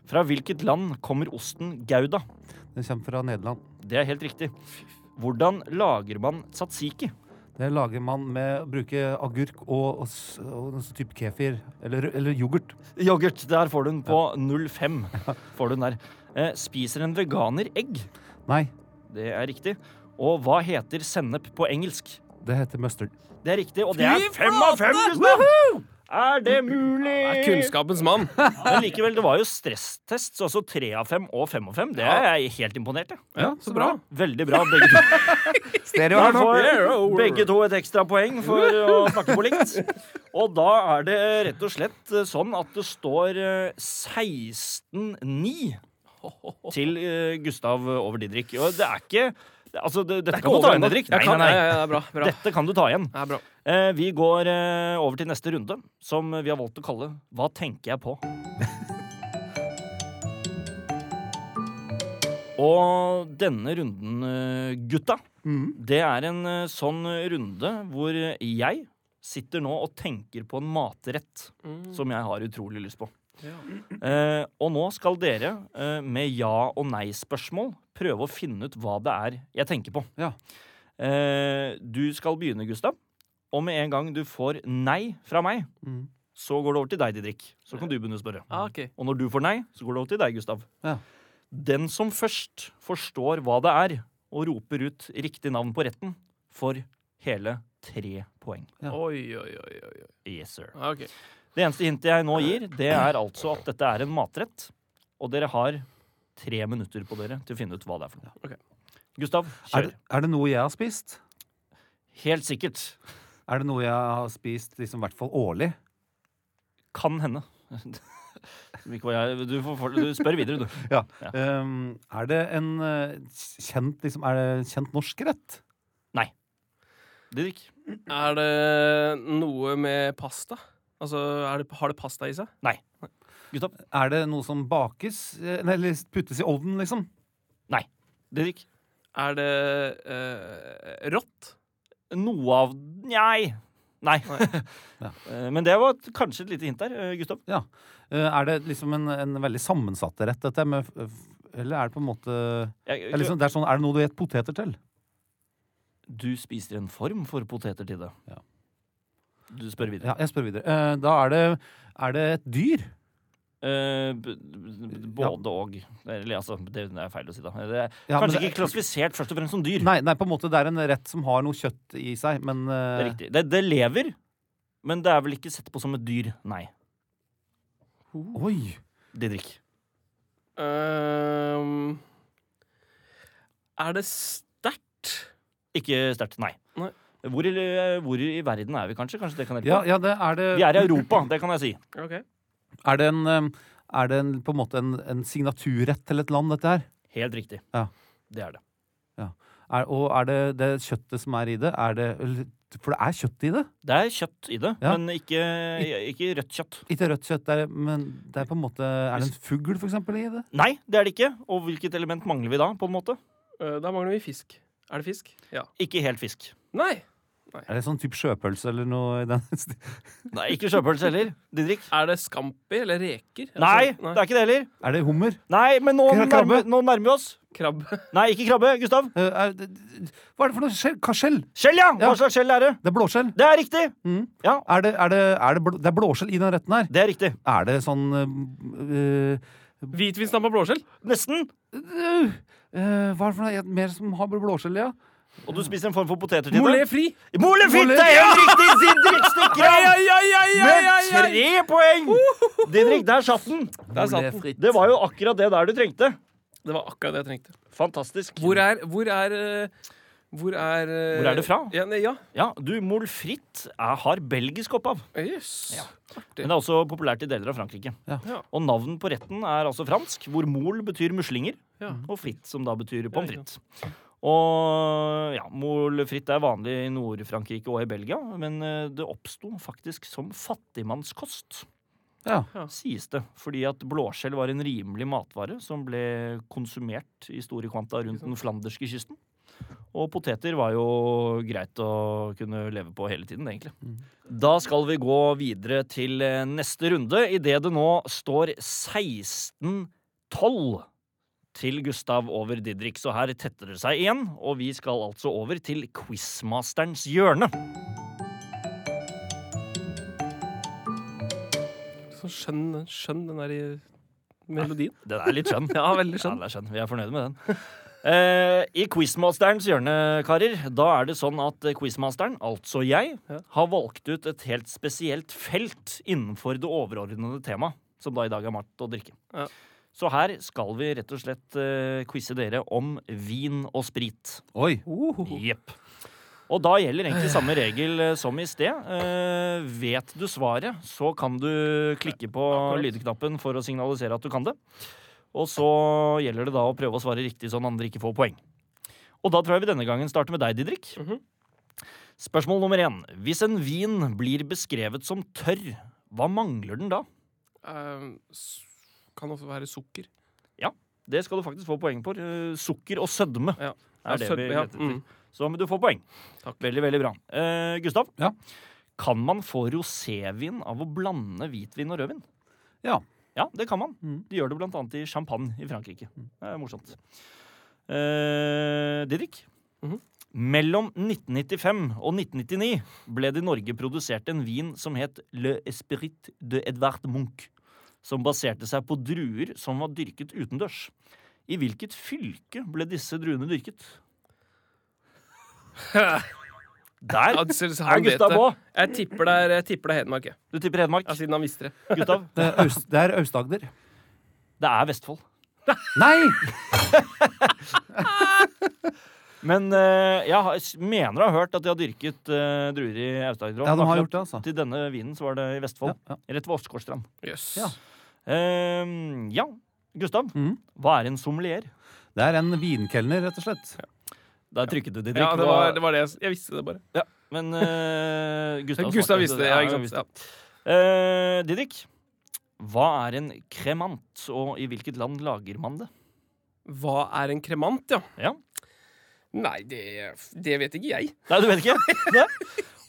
[SPEAKER 2] Fra hvilket land kommer osten gouda?
[SPEAKER 3] Den kommer fra Nederland.
[SPEAKER 2] Det er helt riktig. Hvordan lager man tzatziki?
[SPEAKER 3] Det lager man med å bruke agurk og, og, s- og en sånn type kefir. Eller, eller yoghurt.
[SPEAKER 2] Yoghurt, der får du den på 0,5. Får du den der. Eh, spiser en veganer egg?
[SPEAKER 3] Nei,
[SPEAKER 2] Det er riktig. Og hva heter sennep på engelsk?
[SPEAKER 3] det heter mustard.
[SPEAKER 2] Det er riktig, og det er
[SPEAKER 4] Fy
[SPEAKER 2] fem av fem!
[SPEAKER 4] flate!
[SPEAKER 2] Gustav! Er det mulig?
[SPEAKER 4] Jeg er kunnskapens mann.
[SPEAKER 2] Men likevel, det var jo stresstest, så altså tre av fem og fem av fem. Det er jeg helt imponert, jeg.
[SPEAKER 4] Ja, så bra.
[SPEAKER 2] Veldig bra, begge to.
[SPEAKER 3] Stereo
[SPEAKER 2] Da
[SPEAKER 3] her nå.
[SPEAKER 2] får begge to et ekstra poeng for å snakke på likt. Og da er det rett og slett eh, sånn at det står eh, 16-9 til eh, Gustav over Didrik. Og det er ikke det- Altså, det, dette kan du ta igjen, Didrik.
[SPEAKER 4] Jeg
[SPEAKER 2] Nei,
[SPEAKER 4] kan-
[SPEAKER 2] nei,
[SPEAKER 4] Ja,
[SPEAKER 2] nei.
[SPEAKER 4] ja, ja, det er bra. bra.
[SPEAKER 2] Dette kan du ta igjen.
[SPEAKER 4] Det er bra.
[SPEAKER 2] Eh, Vi går eh, over til neste runde, som vi har valgt å kalle Hva tenker jeg på? Og denne runden, eh, gutta,
[SPEAKER 3] Mm.
[SPEAKER 2] det er en eh, sånn runde hvor jeg sitter nå og tenker på en matrett som jeg har utrolig lyst på.
[SPEAKER 4] Ja.
[SPEAKER 2] Eh, og nå skal dere eh, med ja- og nei-spørsmål prøve å finne ut hva det er jeg tenker på.
[SPEAKER 3] Ja.
[SPEAKER 2] Eh, du skal begynne, Gustav. Og med en gang du får nei fra meg,
[SPEAKER 3] Mm.
[SPEAKER 2] så går det over til deg, Didrik. Så kan du begynne å spørre.
[SPEAKER 4] Ah, ok.
[SPEAKER 2] Og når du får nei, så går det over til deg, Gustav.
[SPEAKER 3] Ja.
[SPEAKER 2] Den som først forstår hva det er, og roper ut riktig navn på retten, får hele tre poeng.
[SPEAKER 3] Ja.
[SPEAKER 4] Oi, oi, oi. oi. oi.
[SPEAKER 2] Yes, sir.
[SPEAKER 4] Ah, ok.
[SPEAKER 2] Det eneste hintet jeg nå gir, det er altså at dette er en matrett. Og dere har tre minutter på dere til å finne ut hva det er for noe.
[SPEAKER 4] Ok.
[SPEAKER 2] Gustav,
[SPEAKER 3] Er,
[SPEAKER 2] kjør.
[SPEAKER 3] det- er det noe jeg har spist?
[SPEAKER 2] Helt sikkert.
[SPEAKER 3] Er det noe jeg har spist liksom, i hvert fall årlig?
[SPEAKER 2] Kan hende. Som ikke var jeg. Du, får, for- du spør videre, du.
[SPEAKER 3] Ja.
[SPEAKER 2] Ja.
[SPEAKER 3] Um, er det en eh, kjent, liksom, er det en kjent norsk rett?
[SPEAKER 2] Didrik?
[SPEAKER 4] Er det noe med pasta? Altså, er det, Har det pasta i seg?
[SPEAKER 2] Gustav?
[SPEAKER 3] Er det noe som bakes? eh, nei, Eller puttes i ovnen, liksom?
[SPEAKER 2] Didrik?
[SPEAKER 4] Er det eh, rått?
[SPEAKER 2] Noe av Nei. Nei.
[SPEAKER 3] Ja.
[SPEAKER 2] Eh, Men det var et- kanskje et lite hint der. eh, Gustav?
[SPEAKER 3] Eh, er det liksom en, en veldig sammensatt rett, dette? Med, f- f- eller er det på en måte
[SPEAKER 2] Jeg,
[SPEAKER 3] er, liksom, det er, sånn, er det noe du gjetter poteter til?
[SPEAKER 2] Du spiser en form for poteter til det.
[SPEAKER 3] Ja.
[SPEAKER 2] Du spør videre.
[SPEAKER 3] Ja, jeg spør videre. Eh, da er det, er det et dyr?
[SPEAKER 2] Eh, b- b- både og. Eller altså, det det er feil å si, da. Det er
[SPEAKER 3] Ja,
[SPEAKER 2] kanskje
[SPEAKER 3] men det-
[SPEAKER 2] ikke klassifisert først og fremst som dyr.
[SPEAKER 3] Nei, nei, på en måte det er en rett som har noe kjøtt i seg, men
[SPEAKER 2] Det er
[SPEAKER 3] eh,
[SPEAKER 2] riktig. Det, det lever, men det er vel ikke sett på som et dyr. Nei.
[SPEAKER 3] Oi!
[SPEAKER 2] Didrik.
[SPEAKER 4] Ehm, er det sterkt?
[SPEAKER 2] Ikke sterkt. Nei.
[SPEAKER 4] Nei.
[SPEAKER 2] Hvor, i, hvor i verden er vi, kanskje? Kanskje det kan hjelpe?
[SPEAKER 3] Ja, ja det er det
[SPEAKER 2] Vi er i Europa, det kan jeg si.
[SPEAKER 4] Ok.
[SPEAKER 3] Er det, en, eh, er det en, på en måte en, en signaturrett til et land, dette her?
[SPEAKER 2] Helt riktig.
[SPEAKER 3] Ja.
[SPEAKER 2] Det er det.
[SPEAKER 3] Er, og er det det kjøttet som er i det? Er det eller- for det er kjøtt i det?
[SPEAKER 2] Det er kjøtt i det,
[SPEAKER 3] Ja.
[SPEAKER 2] men ikke, ikke rødt kjøtt.
[SPEAKER 3] Ikke rødt kjøtt, det er, men det er på en måte Er det en fugl, for eksempel, i det?
[SPEAKER 2] Nei, det er det ikke. Og hvilket element mangler vi da? på en måte?
[SPEAKER 4] Eh, da mangler vi fisk. Er det fisk? Ja.
[SPEAKER 2] Ikke helt fisk.
[SPEAKER 4] Nei!
[SPEAKER 3] Er det sånn type sjøpølse eller noe i den stil?
[SPEAKER 2] Nei, Ikke sjøpølse heller. Didrik?
[SPEAKER 4] Er det scampi eller reker?
[SPEAKER 2] Nei,
[SPEAKER 4] Altså,
[SPEAKER 2] det er ikke det heller.
[SPEAKER 3] Er det hummer?
[SPEAKER 2] Nei, men nå
[SPEAKER 3] Krabbe?
[SPEAKER 2] nærmer, nå nærmer vi oss.
[SPEAKER 4] Krabbe.
[SPEAKER 2] Nei, ikke krabbe. Gustav.
[SPEAKER 3] Eh, er det, hva er det for noe skjell? Hva skjell?
[SPEAKER 2] Skjell, ja! Hva
[SPEAKER 3] Ja.
[SPEAKER 2] slags skjell er det?
[SPEAKER 3] Det er blåskjell.
[SPEAKER 2] Det er riktig!
[SPEAKER 3] Er det, er det, er det, blå, det er blåskjell i den retten her.
[SPEAKER 2] Det er riktig.
[SPEAKER 3] Er det sånn eh,
[SPEAKER 4] Hvitvinsdampa blåskjell.
[SPEAKER 2] Nesten.
[SPEAKER 3] eh, eh, Hva er det for noe jeg- mer som har blåskjell, ja?
[SPEAKER 2] Og du spiser en form for poteter til det.
[SPEAKER 4] Molé fri.
[SPEAKER 2] Mole fitte!
[SPEAKER 3] Mole-
[SPEAKER 2] Helt riktig! Didrik stikker
[SPEAKER 4] Ai,
[SPEAKER 2] av
[SPEAKER 4] ai, ai, ai, ai,
[SPEAKER 2] med
[SPEAKER 4] ai, ai.
[SPEAKER 2] tre poeng! Didrik, der satt den.
[SPEAKER 4] Der satt den.
[SPEAKER 3] Molé fritt.
[SPEAKER 2] Det var jo akkurat det der du trengte.
[SPEAKER 4] Det var akkurat det jeg trengte.
[SPEAKER 2] Fantastisk.
[SPEAKER 4] Hvor er Hvor er eh, Hvor er, eh,
[SPEAKER 2] Hvor er det fra?
[SPEAKER 4] Ja, nei, ja.
[SPEAKER 2] Ja, du, molfritt er- har belgisk opphav,
[SPEAKER 4] Jøss.
[SPEAKER 2] Ja.
[SPEAKER 4] Det-
[SPEAKER 2] men det er også populært i deler av Frankrike.
[SPEAKER 3] Ja.
[SPEAKER 4] Ja.
[SPEAKER 2] Og navn på retten er altså fransk, hvor mol betyr muslinger,
[SPEAKER 4] Ja.
[SPEAKER 2] og fritt, som da betyr pommes frites. Og ja, molfritt er vanlig i Nord-Frankrike og i Belgia, men eh, det oppsto faktisk som fattigmannskost,
[SPEAKER 3] Ja.
[SPEAKER 2] sies det, fordi at blåskjell var en rimelig matvare som ble konsumert i store kvanta rundt den flanderske kysten. Og poteter var jo greit å kunne leve på hele tiden, egentlig. Da skal vi gå videre til eh, neste runde, idet det nå står 16-12 til Gustav over Didrik. Så her tetter det seg igjen, og vi skal altså over til quizmasterens hjørne.
[SPEAKER 4] Sånn skjønn, skjønn den der i melodien.
[SPEAKER 2] Den er litt skjønn.
[SPEAKER 4] Ja, veldig skjønn.
[SPEAKER 2] Ja, den er skjønn. Vi er fornøyde med den. Eh, I Quizmasterens hjørne, karer, da er det sånn at quizmasteren, altså jeg,
[SPEAKER 4] Ja.
[SPEAKER 2] har valgt ut et helt spesielt felt innenfor det overordnede temaet, som da i dag er mat og drikke.
[SPEAKER 4] Ja.
[SPEAKER 2] Så her skal vi rett og slett eh, quize dere om vin og sprit.
[SPEAKER 3] Oi.
[SPEAKER 2] Jepp. Og da gjelder egentlig samme regel eh, som i sted. Eh, vet du svaret, så kan du klikke på
[SPEAKER 4] Akkurat.
[SPEAKER 2] lydknappen for å signalisere at du kan det. Og så gjelder det da å prøve å svare riktig, sånn andre ikke får poeng. Og da tror jeg vi denne gangen starter med deg, Didrik.
[SPEAKER 4] Mhm.
[SPEAKER 2] Spørsmål nummer én. Hvis en vin blir beskrevet som tørr, hva mangler den da?
[SPEAKER 4] Eh, s- kan ofte være sukker.
[SPEAKER 2] Det skal du faktisk få poeng på. Eh, Sukker og sødme
[SPEAKER 4] Ja.
[SPEAKER 2] er det vi
[SPEAKER 4] sødme, ja.
[SPEAKER 2] leter etter.
[SPEAKER 4] Mm.
[SPEAKER 2] Så men du får poeng.
[SPEAKER 4] Takk.
[SPEAKER 2] Veldig, veldig bra. Eh, Gustav,
[SPEAKER 3] Ja.
[SPEAKER 2] kan man få rosévin av å blande hvitvin og rødvin?
[SPEAKER 3] Ja.
[SPEAKER 2] Ja, det kan man.
[SPEAKER 3] Mm.
[SPEAKER 2] De gjør det blant annet i champagne i Frankrike. Det er morsomt. Eh, Didrik?
[SPEAKER 4] Mhm.
[SPEAKER 2] Mellom 1995 og 1999 ble det i Norge produsert en vin som het Le Esprit de Edvard Munch, som baserte seg på druer som var dyrket utendørs. I hvilket fylke ble disse druene dyrket? Der
[SPEAKER 4] Ja, selv så
[SPEAKER 2] er
[SPEAKER 4] han vet
[SPEAKER 2] Gustav
[SPEAKER 4] det.
[SPEAKER 2] på.
[SPEAKER 4] Jeg tipper det er, jeg tipper det er Hedmark, jeg.
[SPEAKER 2] Du tipper Hedmark.
[SPEAKER 4] Ja, siden han visste det.
[SPEAKER 2] Gustav,
[SPEAKER 3] Det er Aust- det er Aust-Agder.
[SPEAKER 2] det er Vestfold.
[SPEAKER 3] Nei!
[SPEAKER 2] Men eh, jeg har- mener å ha hørt at de har dyrket eh, druer i Aust-Agder.
[SPEAKER 3] Ja, de har
[SPEAKER 2] Akkurat
[SPEAKER 3] gjort det, altså.
[SPEAKER 2] Til denne vinen så var det i Vestfold.
[SPEAKER 3] Ja, ja.
[SPEAKER 2] Rett ved Åsgårdstrand.
[SPEAKER 4] Jøss.
[SPEAKER 3] Ja.
[SPEAKER 2] Eh, ja, Gustav.
[SPEAKER 3] Mhm.
[SPEAKER 2] Hva er en sommelier?
[SPEAKER 3] Det er en vinkelner, rett og slett.
[SPEAKER 2] Der trykket du ditt
[SPEAKER 4] Ja, det var, det var det. jeg- Jeg visste det bare.
[SPEAKER 2] Men eh, Gustav,
[SPEAKER 4] Gustav
[SPEAKER 2] snakket-
[SPEAKER 4] visste det. Ja, ikke sant? Ja.
[SPEAKER 2] Eh, Didrik, hva er en kremant, og i hvilket land lager man det?
[SPEAKER 4] Hva er en kremant, ja?
[SPEAKER 2] Ja.
[SPEAKER 4] Nei, det, det vet ikke jeg.
[SPEAKER 2] Nei, du vet ikke? Nei.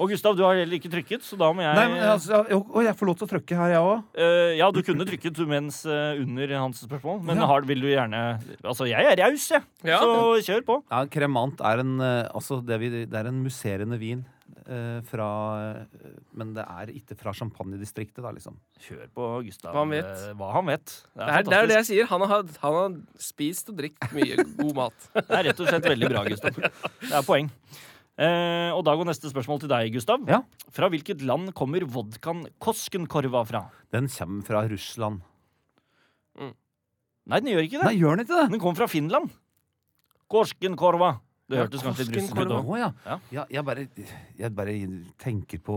[SPEAKER 2] Og Gustav, du har heller ikke trykket, så da må jeg
[SPEAKER 3] Nei, men altså, jeg, å, jeg får lov til å trykke her, jeg òg.
[SPEAKER 2] Eh, Ja, du kunne trykket du, mens eh, under hans spørsmål, men
[SPEAKER 3] Ja.
[SPEAKER 2] har, vil du gjerne Altså, jeg er raus, jeg.
[SPEAKER 4] Ja.
[SPEAKER 2] Så kjør på.
[SPEAKER 3] Ja, kremant er en eh, Altså, det, vi, det er en musserende vin eh, fra eh, Men det er ikke fra champagnedistriktet, da, liksom.
[SPEAKER 2] Kjør på, Gustav.
[SPEAKER 4] Hva han vet.
[SPEAKER 2] eh, Hva han vet. Det er,
[SPEAKER 4] Det er, det er jo
[SPEAKER 2] fantastisk.
[SPEAKER 4] det jeg sier. Han har, han har spist og drikt mye god mat.
[SPEAKER 2] Det er rett og slett veldig bra, Gustav. Det er poeng. Eh, og da går neste spørsmål til deg, Gustav.
[SPEAKER 3] Ja.
[SPEAKER 2] Fra hvilket land kommer vodkaen Koskenkorva fra?
[SPEAKER 3] Den kommer fra Russland.
[SPEAKER 2] Nei, den gjør ikke det.
[SPEAKER 3] Nei, gjør den ikke det?
[SPEAKER 2] Den kom fra Finland. Korskenkorva. Det
[SPEAKER 4] Ja,
[SPEAKER 2] hørtes kanskje litt russisk ut
[SPEAKER 4] Korskenkorva.
[SPEAKER 2] òg.
[SPEAKER 3] Å, ja.
[SPEAKER 2] Ja.
[SPEAKER 3] Ja, jeg, bare, jeg bare tenker på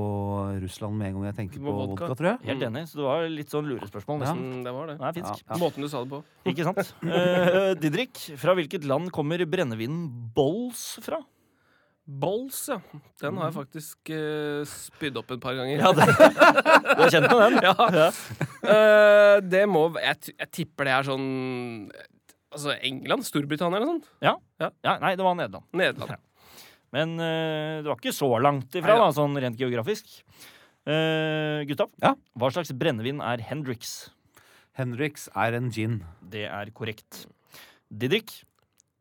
[SPEAKER 3] Russland med en gang jeg tenker
[SPEAKER 4] På
[SPEAKER 3] på
[SPEAKER 4] vodka.
[SPEAKER 3] vodka, tror jeg.
[SPEAKER 2] Helt enig, så det var litt sånn lurespørsmål.
[SPEAKER 3] Ja.
[SPEAKER 2] Nesten.
[SPEAKER 4] Mm, det var det.
[SPEAKER 2] Den er finsk.
[SPEAKER 3] Ja.
[SPEAKER 4] Måten du sa det på.
[SPEAKER 2] Ikke sant? Eh, Didrik, fra hvilket land kommer brennevinen Bolls fra?
[SPEAKER 4] Bols, ja. Den har jeg faktisk eh, spydd opp et par ganger.
[SPEAKER 2] Ja, det, du er kjent med den?
[SPEAKER 4] Ja.
[SPEAKER 2] Ja.
[SPEAKER 4] Eh, det må jeg, t- jeg tipper det er sånn Altså England? Storbritannia eller noe sånt?
[SPEAKER 2] Ja, nei, det var Nederland.
[SPEAKER 4] Nederland.
[SPEAKER 2] Men eh, det var ikke så langt ifra, da,
[SPEAKER 4] Neida.
[SPEAKER 2] sånn rent geografisk. Eh, Gustav,
[SPEAKER 3] Ja.
[SPEAKER 2] hva slags brennevin er Hendrix?
[SPEAKER 3] Henriks er en gin.
[SPEAKER 2] Det er korrekt. Didrik,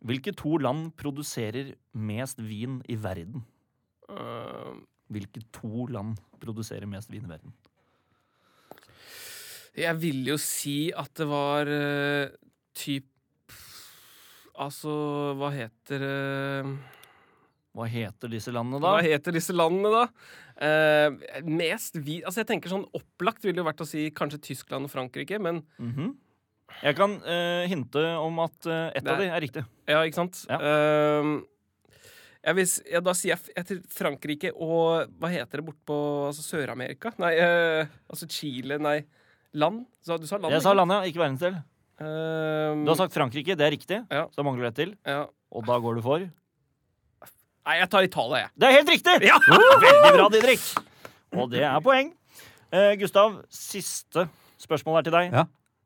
[SPEAKER 2] hvilke to land produserer mest vin i verden?
[SPEAKER 4] Eh,
[SPEAKER 2] Hvilke to land produserer mest vin i verden?
[SPEAKER 4] jeg ville jo si at det var uh, typ Altså, hva heter eh,
[SPEAKER 2] Hva heter disse landene, da?
[SPEAKER 4] Hva heter disse landene, da? Eh, mest vi... Altså, jeg tenker sånn opplagt ville jo vært å si kanskje Tyskland og Frankrike, men
[SPEAKER 2] Mhm. Jeg kan eh, hinte om at uh, ett av
[SPEAKER 4] Nei.
[SPEAKER 2] de er riktig.
[SPEAKER 4] Ja, ikke sant?
[SPEAKER 2] Ja.
[SPEAKER 4] Ehm, jeg vil, s- ja, da sier jeg, f- jeg til Frankrike og Hva heter det bortpå altså Sør-Amerika? Nei, eh, altså Chile, nei. Land? Så, du sa land?
[SPEAKER 2] Jeg sa landet, ja, ikke verdensdel. Du har sagt Frankrike, det er riktig.
[SPEAKER 4] Mm. Ja.
[SPEAKER 2] Så da mangler du ett til.
[SPEAKER 4] ja.
[SPEAKER 2] Og da går du for
[SPEAKER 4] Nei, jeg tar Italia, jeg.
[SPEAKER 2] Det er helt riktig!
[SPEAKER 4] Ja!
[SPEAKER 2] Veldig bra, Didrik. Og det er poeng. Eh, Gustav, siste spørsmål er til deg.
[SPEAKER 3] Ja.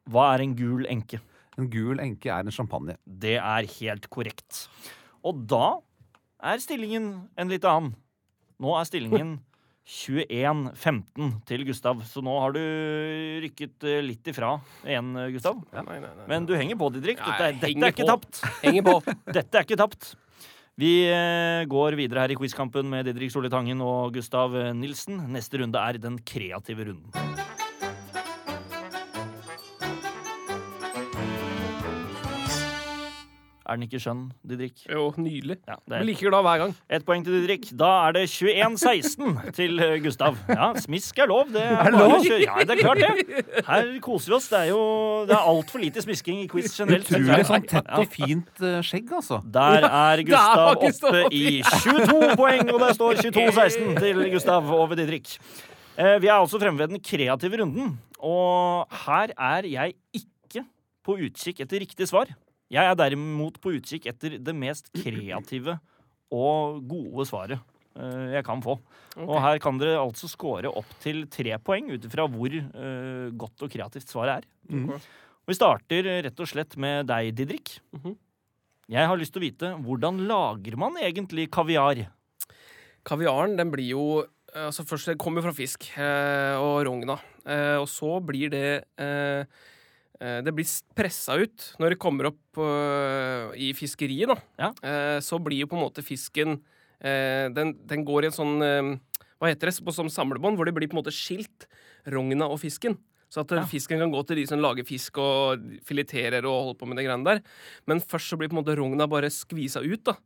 [SPEAKER 2] Hva er en gul enke?
[SPEAKER 3] En gul enke er en champagne.
[SPEAKER 2] Det er helt korrekt. Og da er stillingen en litt annen. Nå er stillingen 21-15 til Gustav, så nå har du rykket eh, litt ifra igjen, eh, Gustav.
[SPEAKER 4] Nei, nei, nei.
[SPEAKER 2] Men du henger på, Didrik.
[SPEAKER 4] Ja,
[SPEAKER 2] Dette, er-
[SPEAKER 4] jeg
[SPEAKER 2] dette
[SPEAKER 4] henger
[SPEAKER 2] er ikke
[SPEAKER 4] på.
[SPEAKER 2] tapt.
[SPEAKER 4] Henger på.
[SPEAKER 2] Dette er ikke tapt. Vi eh, går videre her i quizkampen med Didrik Solli Tangen og Gustav eh, Nilsen. Neste runde er den kreative runden. Er den ikke skjønn, Didrik?
[SPEAKER 4] Jo, nydelig.
[SPEAKER 2] Ja, det
[SPEAKER 4] Jeg
[SPEAKER 2] er
[SPEAKER 4] blir like glad hver gang.
[SPEAKER 2] ett poeng til Didrik. Da er det 21-16 til eh, Gustav. Ja, smisk er lov. Det er
[SPEAKER 3] Er det
[SPEAKER 2] bare
[SPEAKER 3] lov?
[SPEAKER 2] å kjøre. Ja, det er klart det. Her koser vi oss. Det er jo det er altfor lite smisking i quiz generelt.
[SPEAKER 3] Utrolig
[SPEAKER 2] Ja.
[SPEAKER 3] sånn tett og fint eh, skjegg, altså.
[SPEAKER 2] Der er
[SPEAKER 4] Der
[SPEAKER 2] Gustav
[SPEAKER 4] var Gustav
[SPEAKER 2] oppe i 22 poeng, og det står 22-16 til Gustav over Didrik. Eh, Vi er også fremme ved den kreative runden, og her er jeg ikke på utkikk etter riktig svar. Jeg er derimot på utkikk etter det mest kreative og gode svaret eh, jeg kan få. Og her kan dere altså score opp til tre poeng ut ifra hvor eh, godt og kreativt svaret er.
[SPEAKER 4] Mhm.
[SPEAKER 2] Og vi starter eh, rett og slett med deg, Didrik.
[SPEAKER 4] Mhm.
[SPEAKER 2] Jeg har lyst til å vite hvordan lager man egentlig kaviar?
[SPEAKER 4] Kaviaren den blir jo altså Først det kommer jo fra fisk eh, og rogna. Eh, og så blir det eh, eh, Det blir pressa ut når det kommer opp eh, i fiskeriet. da.
[SPEAKER 2] Ja.
[SPEAKER 4] Eh, så blir jo på en måte fisken eh, den, den går i en sånn eh, Hva heter det? På sånn samlebånd, hvor det blir på en måte skilt rogna og fisken. Så at eh,
[SPEAKER 2] Ja.
[SPEAKER 4] fisken kan gå til de som lager fisk og fileterer og holder på med de greiene der. Men først så blir på en måte rogna bare skvisa ut, da.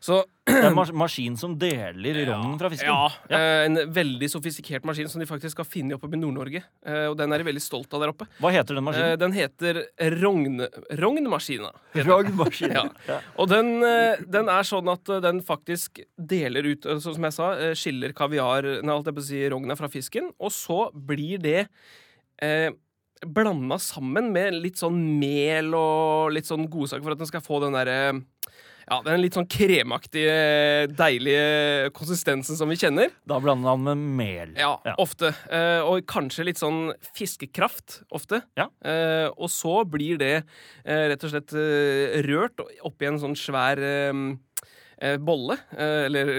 [SPEAKER 4] Så
[SPEAKER 2] Det er en mas maskin som deler rognen fra fisken.
[SPEAKER 4] ja, eh, en veldig sofistikert maskin som de faktisk har funnet oppe i Nord-Norge. eh, Og den er de veldig stolt av der oppe.
[SPEAKER 2] Hva heter den
[SPEAKER 4] Eh,
[SPEAKER 2] maskinen?
[SPEAKER 4] Den heter rogn, rognmaskina.
[SPEAKER 2] Rognmaskin.
[SPEAKER 4] Ja. Og den, eh, den er sånn at eh, den faktisk deler ut, eh, sånn som jeg sa, eh, skiller kaviar Nei, alt jeg på å si rogna fra fisken, og så blir det eh, blanda sammen med litt sånn mel og litt sånn godsaker for at den skal få den derre ja, den litt sånn kremaktige, deilige konsistensen som vi kjenner.
[SPEAKER 2] Da blander han med mel.
[SPEAKER 4] Ja, ofte. Eh, og kanskje litt sånn fiskekraft, ofte.
[SPEAKER 2] Ja.
[SPEAKER 4] Eh, og så blir det eh, rett og slett eh, rørt oppi en sånn svær eh, eh, bolle, eh, eller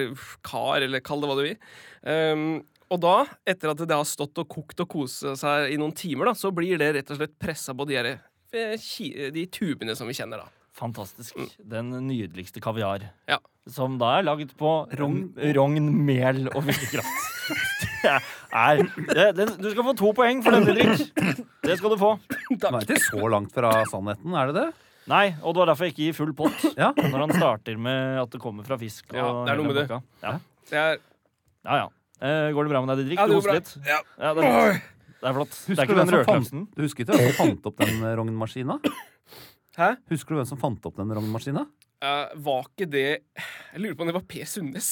[SPEAKER 4] kar, eller kall det hva du vil. Ehm, og da, etter at det har stått og kokt og koset seg i noen timer, da, så blir det rett og slett pressa på de, her, eh, ki- de tubene som vi kjenner, da.
[SPEAKER 2] Fantastisk. Den nydeligste kaviar.
[SPEAKER 4] Mm. Ja.
[SPEAKER 2] Som da er laget på rogn, mel og fiskekraft. Det er, det, den, du skal få to poeng for denne, Didrik. Det skal du få.
[SPEAKER 3] Den er ikke så langt fra sannheten, er det det?
[SPEAKER 2] Nei, og det var derfor jeg ikke gir full pott.
[SPEAKER 3] Ja.
[SPEAKER 2] Når han starter med at det kommer fra fisk. Og
[SPEAKER 4] Ja, det er
[SPEAKER 2] hele
[SPEAKER 4] noe med det.
[SPEAKER 2] pakka. Ja,
[SPEAKER 4] Det er,
[SPEAKER 2] ja. ja. Eh, går det bra med deg, Didrik?
[SPEAKER 4] Ja,
[SPEAKER 2] du
[SPEAKER 4] det går
[SPEAKER 2] hoster
[SPEAKER 4] bra.
[SPEAKER 2] litt?
[SPEAKER 4] Ja.
[SPEAKER 2] Ja, det er flott. Det er, flott. Det er
[SPEAKER 3] Husker
[SPEAKER 2] ikke den
[SPEAKER 3] du hvem som fant,
[SPEAKER 2] rødklapsen.
[SPEAKER 3] du husker ikke hvem som fant opp den eh, rognmaskina?
[SPEAKER 4] Hæ?
[SPEAKER 3] Husker du hvem som fant opp den rognmaskina?
[SPEAKER 4] eh, var ikke det Jeg lurer på om det var P. Sundnes.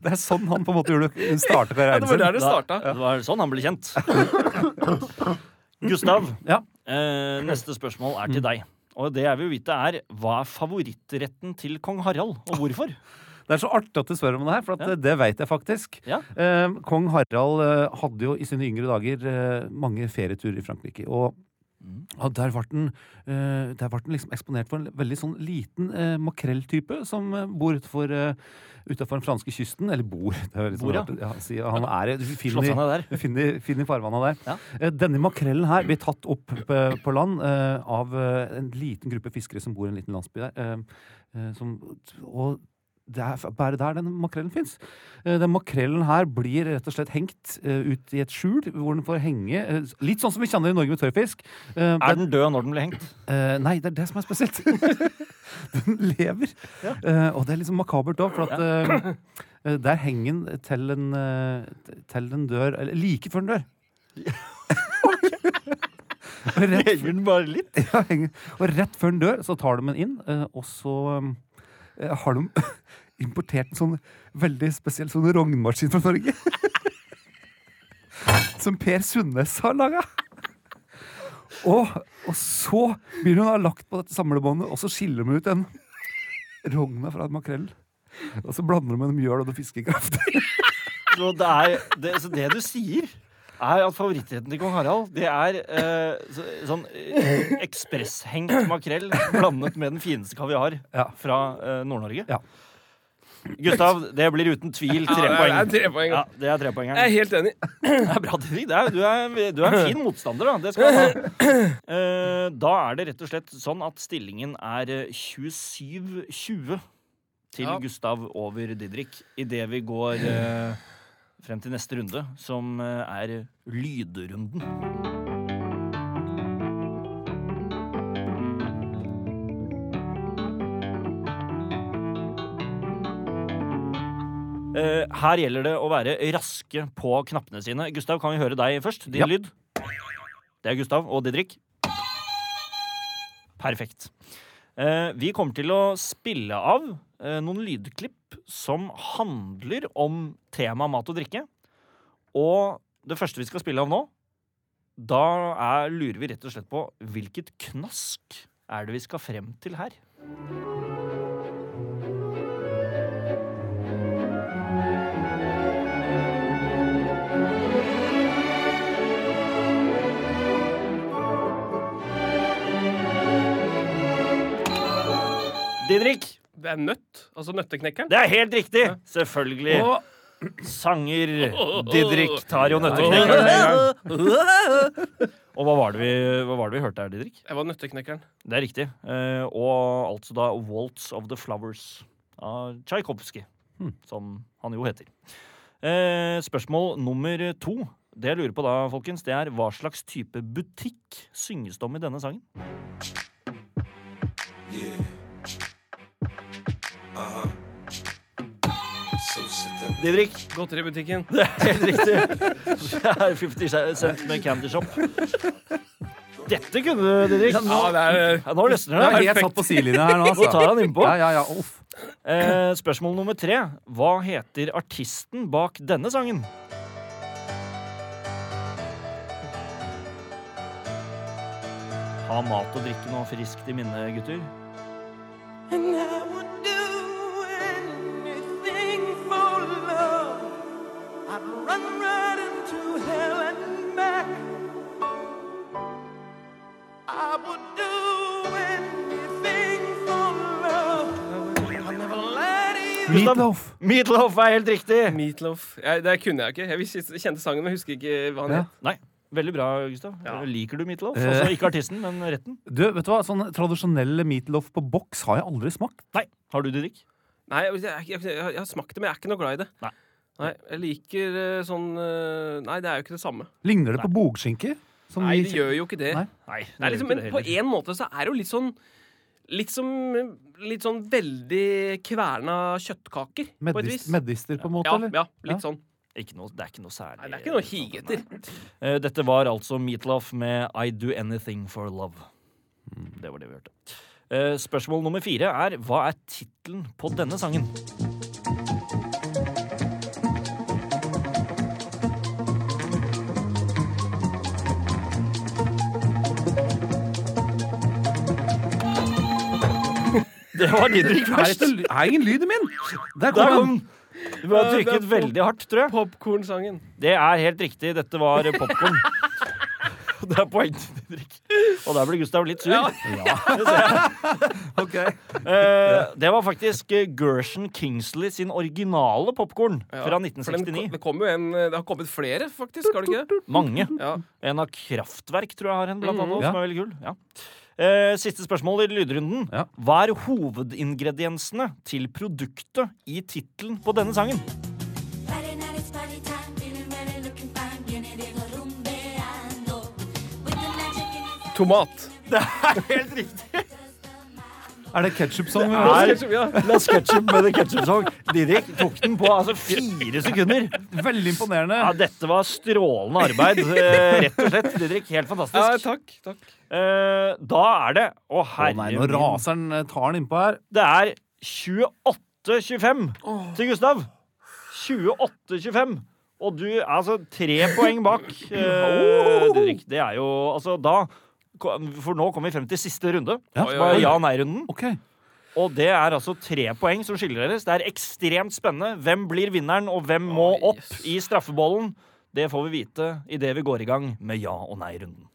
[SPEAKER 3] Det er sånn han på en måte gjorde det. startet
[SPEAKER 4] Ja, det var der
[SPEAKER 3] karrieren sin.
[SPEAKER 4] det starta.
[SPEAKER 2] Det var sånn han ble kjent. Gustav,
[SPEAKER 3] Ja. Mm.
[SPEAKER 2] eh, neste spørsmål er til deg. Og det jeg vil vite, er hva er favorittretten til kong Harald,
[SPEAKER 3] Ah,
[SPEAKER 2] og hvorfor?
[SPEAKER 3] Det er så artig at du spør om det her, for at
[SPEAKER 2] Ja.
[SPEAKER 3] eh, det veit jeg faktisk.
[SPEAKER 2] Ja.
[SPEAKER 3] Eh, Kong Harald eh, hadde jo i sine yngre dager eh, mange ferieturer i Frankrike. Og ja, der ble den, eh, der ble den liksom eksponert for en veldig sånn liten eh, makrelltype som eh, bor utenfor, eh, utenfor den franske kysten. Eller bor, det er veldig
[SPEAKER 2] Bor, ja.
[SPEAKER 3] sånn rart. Ja, si- han er i- fin
[SPEAKER 2] Slått
[SPEAKER 3] i,
[SPEAKER 2] seg ned der.
[SPEAKER 3] fin i, fin i farvannet der.
[SPEAKER 2] Ja.
[SPEAKER 3] Eh, Denne makrellen her blir tatt opp på, på land eh, av eh, en liten gruppe fiskere som bor i en liten landsby der. eh, eh, som, og det er f- bare der den makrellen fins. Den makrellen her blir rett og slett hengt eh, ut i et skjul, hvor den får henge eh, Litt sånn som vi kjenner i Norge med tørrfisk. Eh,
[SPEAKER 2] Er den død når den ble hengt?
[SPEAKER 3] Eh, nei, det er det som er spesielt. den lever.
[SPEAKER 2] Ja.
[SPEAKER 3] Eh, og det er liksom makabert òg, for at eh, eh, der henger den til en, eh, til den dør Eller like før den dør. Og rett,
[SPEAKER 2] Henger den bare litt?
[SPEAKER 3] ja, henger- og rett før den dør, så tar de den inn, eh, og så eh, har de importert en sånn veldig spesiell sånn rognmaskin fra Norge. som Per Sundnes har laga. Og, og så blir hun da lagt på dette samlebåndet, og så skiller de ut en rogna fra en makrell. Og så blander de med en mjøl og noe fiskekraft.
[SPEAKER 2] Så det, er, det, så det du sier, er at favorittretten til kong Harald, det er eh, så, sånn eh, ekspresshengt makrell blandet med den fineste kaviar
[SPEAKER 3] Ja.
[SPEAKER 2] fra eh, Nord-Norge.
[SPEAKER 3] Ja.
[SPEAKER 2] Gustav, det blir uten tvil tre
[SPEAKER 4] Ja, det er-
[SPEAKER 2] poeng.
[SPEAKER 4] det er tre poeng, ja.
[SPEAKER 2] Ja, det er trepoengeren.
[SPEAKER 4] Jeg er helt enig.
[SPEAKER 2] Det er bra, Didrik. Det er, du, er, du er en fin motstander, da. Det skal jeg ha. Eh, da er det rett og slett sånn at stillingen er eh, 27-20 til
[SPEAKER 4] Ja.
[SPEAKER 2] Gustav over Didrik idet vi går eh, frem til neste runde, som eh, er lydrunden. Eh, her gjelder det å være raske på knappene sine. Gustav, kan vi høre deg først? Din
[SPEAKER 3] Ja.
[SPEAKER 2] lyd. Det er Gustav og Didrik. Perfekt. Eh, vi kommer til å spille av eh, noen lydklipp som handler om temaet mat og drikke. Og det første vi skal spille av nå, da er, lurer vi rett og slett på hvilket knask er det vi skal frem til her. Didrik!
[SPEAKER 4] Det er nøtt. Altså nøtteknekkeren.
[SPEAKER 2] Det er helt riktig! Selvfølgelig.
[SPEAKER 4] Å,
[SPEAKER 2] Sanger Didrik tar jo nøtteknekkeren. Og hva var, det vi, hva var det vi hørte her, Didrik?
[SPEAKER 4] jeg var nøtteknekkeren.
[SPEAKER 2] Det er riktig. Eh, og altså da Waltz of the Flowers av Tsjajkovskij, som han jo heter. Eh, spørsmål nummer to. Det jeg lurer på da, folkens, det er hva slags type butikk synges det om i denne sangen?
[SPEAKER 1] Yeah. Uh huh. So sit down.
[SPEAKER 2] Didrik,
[SPEAKER 4] Godteributikken.
[SPEAKER 2] det er helt riktig. Det er 50 Cent med Candy Shop. Dette kunne du, Didrik.
[SPEAKER 4] Ja, det er eh,
[SPEAKER 2] Ja, nå løsner det.
[SPEAKER 3] Jeg er helt satt på sidelinja her nå, altså.
[SPEAKER 2] Nå tar han innpå.
[SPEAKER 3] Ja, ja, ja. Uff.
[SPEAKER 2] Eh, spørsmål nummer tre. Hva heter artisten bak denne sangen? Ha mat og drikke noe friskt i minne, gutter.
[SPEAKER 5] And I would do anything for love. I'd run right into hell and back. I would do anything for
[SPEAKER 3] Meatloaf.
[SPEAKER 2] Meatloaf er helt riktig!
[SPEAKER 4] Meatloaf. Jeg, det kunne jeg ikke. Jeg visste- kjente sangen, men husker ikke hva han
[SPEAKER 3] Ja.
[SPEAKER 4] het.
[SPEAKER 2] Nei. Veldig bra, Gustav.
[SPEAKER 4] Ja.
[SPEAKER 2] Liker du meatloaf?
[SPEAKER 3] Eh.
[SPEAKER 2] Altså ikke artisten, men retten?
[SPEAKER 3] Du, vet du hva? Sånn tradisjonell meatloaf på boks har jeg aldri smakt.
[SPEAKER 2] Nei. Har du det, Dick?
[SPEAKER 4] Nei, jeg, jeg, jeg, jeg, har smakt det, men jeg er ikke noe glad i det.
[SPEAKER 2] Nei.
[SPEAKER 4] Nei, jeg liker eh, sånn eh, Nei, det er jo ikke det samme.
[SPEAKER 3] Ligner det på bogskinke? Sånn Som
[SPEAKER 4] Nei,
[SPEAKER 3] vi-
[SPEAKER 4] det gjør jo ikke det.
[SPEAKER 3] Nei.
[SPEAKER 2] Nei. det
[SPEAKER 4] Det er
[SPEAKER 2] gjør
[SPEAKER 4] liksom,
[SPEAKER 2] ikke
[SPEAKER 4] men
[SPEAKER 2] det
[SPEAKER 4] på
[SPEAKER 2] heller.
[SPEAKER 4] en måte så er det jo litt sånn Litt som eh, Litt sånn veldig kverna kjøttkaker, på et
[SPEAKER 3] Meddis,
[SPEAKER 4] vis.
[SPEAKER 3] Meddister, på en måte?
[SPEAKER 4] ja,
[SPEAKER 3] eller?
[SPEAKER 4] ja, litt sånn.
[SPEAKER 2] ikke noe, Det er ikke noe særlig. sånn,
[SPEAKER 4] Nei, det er ikke noe å hige etter.
[SPEAKER 2] Eh, Dette var altså Meatloaf med I Do Anything For Love. Det var det vi hørte. Eh, Spørsmål nummer fire er hva er tittelen på denne sangen? Det var Didrik
[SPEAKER 3] Er
[SPEAKER 2] først.
[SPEAKER 3] dette ly- er ingen lyd i min! Der
[SPEAKER 2] Der
[SPEAKER 3] kom den!
[SPEAKER 2] kom den. Du har trykket veldig hardt, tror jeg.
[SPEAKER 4] Popkornsangen.
[SPEAKER 2] Det er helt riktig. Dette var popkorn. Det er poeng til Didrik. Og der ble Gustav litt sur.
[SPEAKER 3] Ok.
[SPEAKER 2] Eh, det var faktisk eh, Gershon Kingsley sin originale popkorn fra
[SPEAKER 4] Ja, for den-
[SPEAKER 2] 1969.
[SPEAKER 4] Det, kom jo en, det har kommet flere, faktisk. Har det ikke det?
[SPEAKER 2] Mange.
[SPEAKER 4] Ja.
[SPEAKER 2] En av Kraftverk tror jeg har en,
[SPEAKER 4] Mm.
[SPEAKER 2] blant annet,
[SPEAKER 3] Ja.
[SPEAKER 2] som er veldig kul. Ja. Eh, siste spørsmål i lydrunden.
[SPEAKER 3] Ja.
[SPEAKER 2] Hva er hovedingrediensene til produktet i tittelen på denne sangen?
[SPEAKER 6] Friday night, it's party time, feeling really looking fine, unity lo rumbeando. With the magic in his eyes,
[SPEAKER 4] Tomat.
[SPEAKER 2] Det er helt riktig!
[SPEAKER 6] does the mambo.
[SPEAKER 3] Er det ketchupsang?
[SPEAKER 2] Nei.
[SPEAKER 4] Ja.
[SPEAKER 2] La Ketchup med The Ketchup Song. Didrik tok den på altså fire sekunder.
[SPEAKER 3] Veldig imponerende.
[SPEAKER 2] Ja, dette var strålende arbeid, eh, rett og slett. Didrik, helt
[SPEAKER 4] ja,
[SPEAKER 2] fantastisk.
[SPEAKER 4] takk. takk.
[SPEAKER 2] Eh, da er det Å,
[SPEAKER 3] Å
[SPEAKER 2] herre
[SPEAKER 3] nei, nå raser den eh, tar den innpå her.
[SPEAKER 2] Det er 28-25 til Gustav. 28-25. Og du er altså tre poeng bak, eh, Didrik. Det er jo Altså, da For nå kommer vi frem til siste runde.
[SPEAKER 3] Ja.
[SPEAKER 2] Som er ja-nei-runden.
[SPEAKER 3] Ok.
[SPEAKER 2] Og det er altså tre poeng som skiller deres. Det er ekstremt spennende. Hvem blir vinneren, og hvem må
[SPEAKER 4] Oi,
[SPEAKER 2] opp
[SPEAKER 4] yes.
[SPEAKER 2] i straffebollen? Det får vi vite idet vi går i gang med ja- og nei-runden.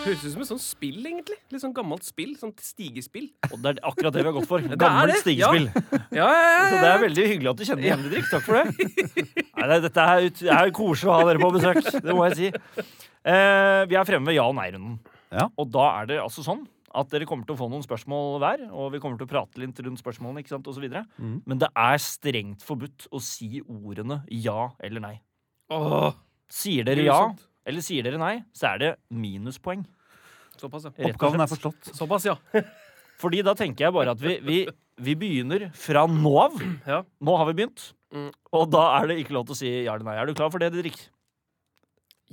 [SPEAKER 4] Høres ut som et sånt spill, egentlig. Litt sånn gammelt spill. Sånn stigespill.
[SPEAKER 2] Og det er akkurat det vi har gått for.
[SPEAKER 4] det,
[SPEAKER 2] Gammelt
[SPEAKER 4] ja.
[SPEAKER 2] stigespill.
[SPEAKER 4] Ja, ja, ja,
[SPEAKER 2] Så det er veldig hyggelig at du kjenner igjen, Didrik. Takk for det. Nei, det- dette er, ut- det er koselig å ha dere på besøk. Det må jeg si. Eh, vi er fremme ved ja- og nei-runden.
[SPEAKER 3] Ja.
[SPEAKER 2] Og da er det altså sånn at dere kommer til å få noen spørsmål hver, og vi kommer til å prate litt rundt spørsmålene, ikke sant, og så videre.
[SPEAKER 3] Mm.
[SPEAKER 2] Men det er strengt forbudt å si ordene ja eller nei.
[SPEAKER 4] Åh,
[SPEAKER 2] Sier dere ja, eller sier dere nei, så er det minuspoeng.
[SPEAKER 4] Såpass, ja.
[SPEAKER 2] rett og
[SPEAKER 3] Oppgaven
[SPEAKER 2] slett.
[SPEAKER 3] er forstått.
[SPEAKER 4] Såpass, ja.
[SPEAKER 2] Fordi da tenker jeg bare at vi, vi, vi begynner fra nå av.
[SPEAKER 4] Ja.
[SPEAKER 2] Nå har vi begynt.
[SPEAKER 4] Mm.
[SPEAKER 2] Og da er det ikke lov til å si ja eller nei. Er du klar for det, Didrik?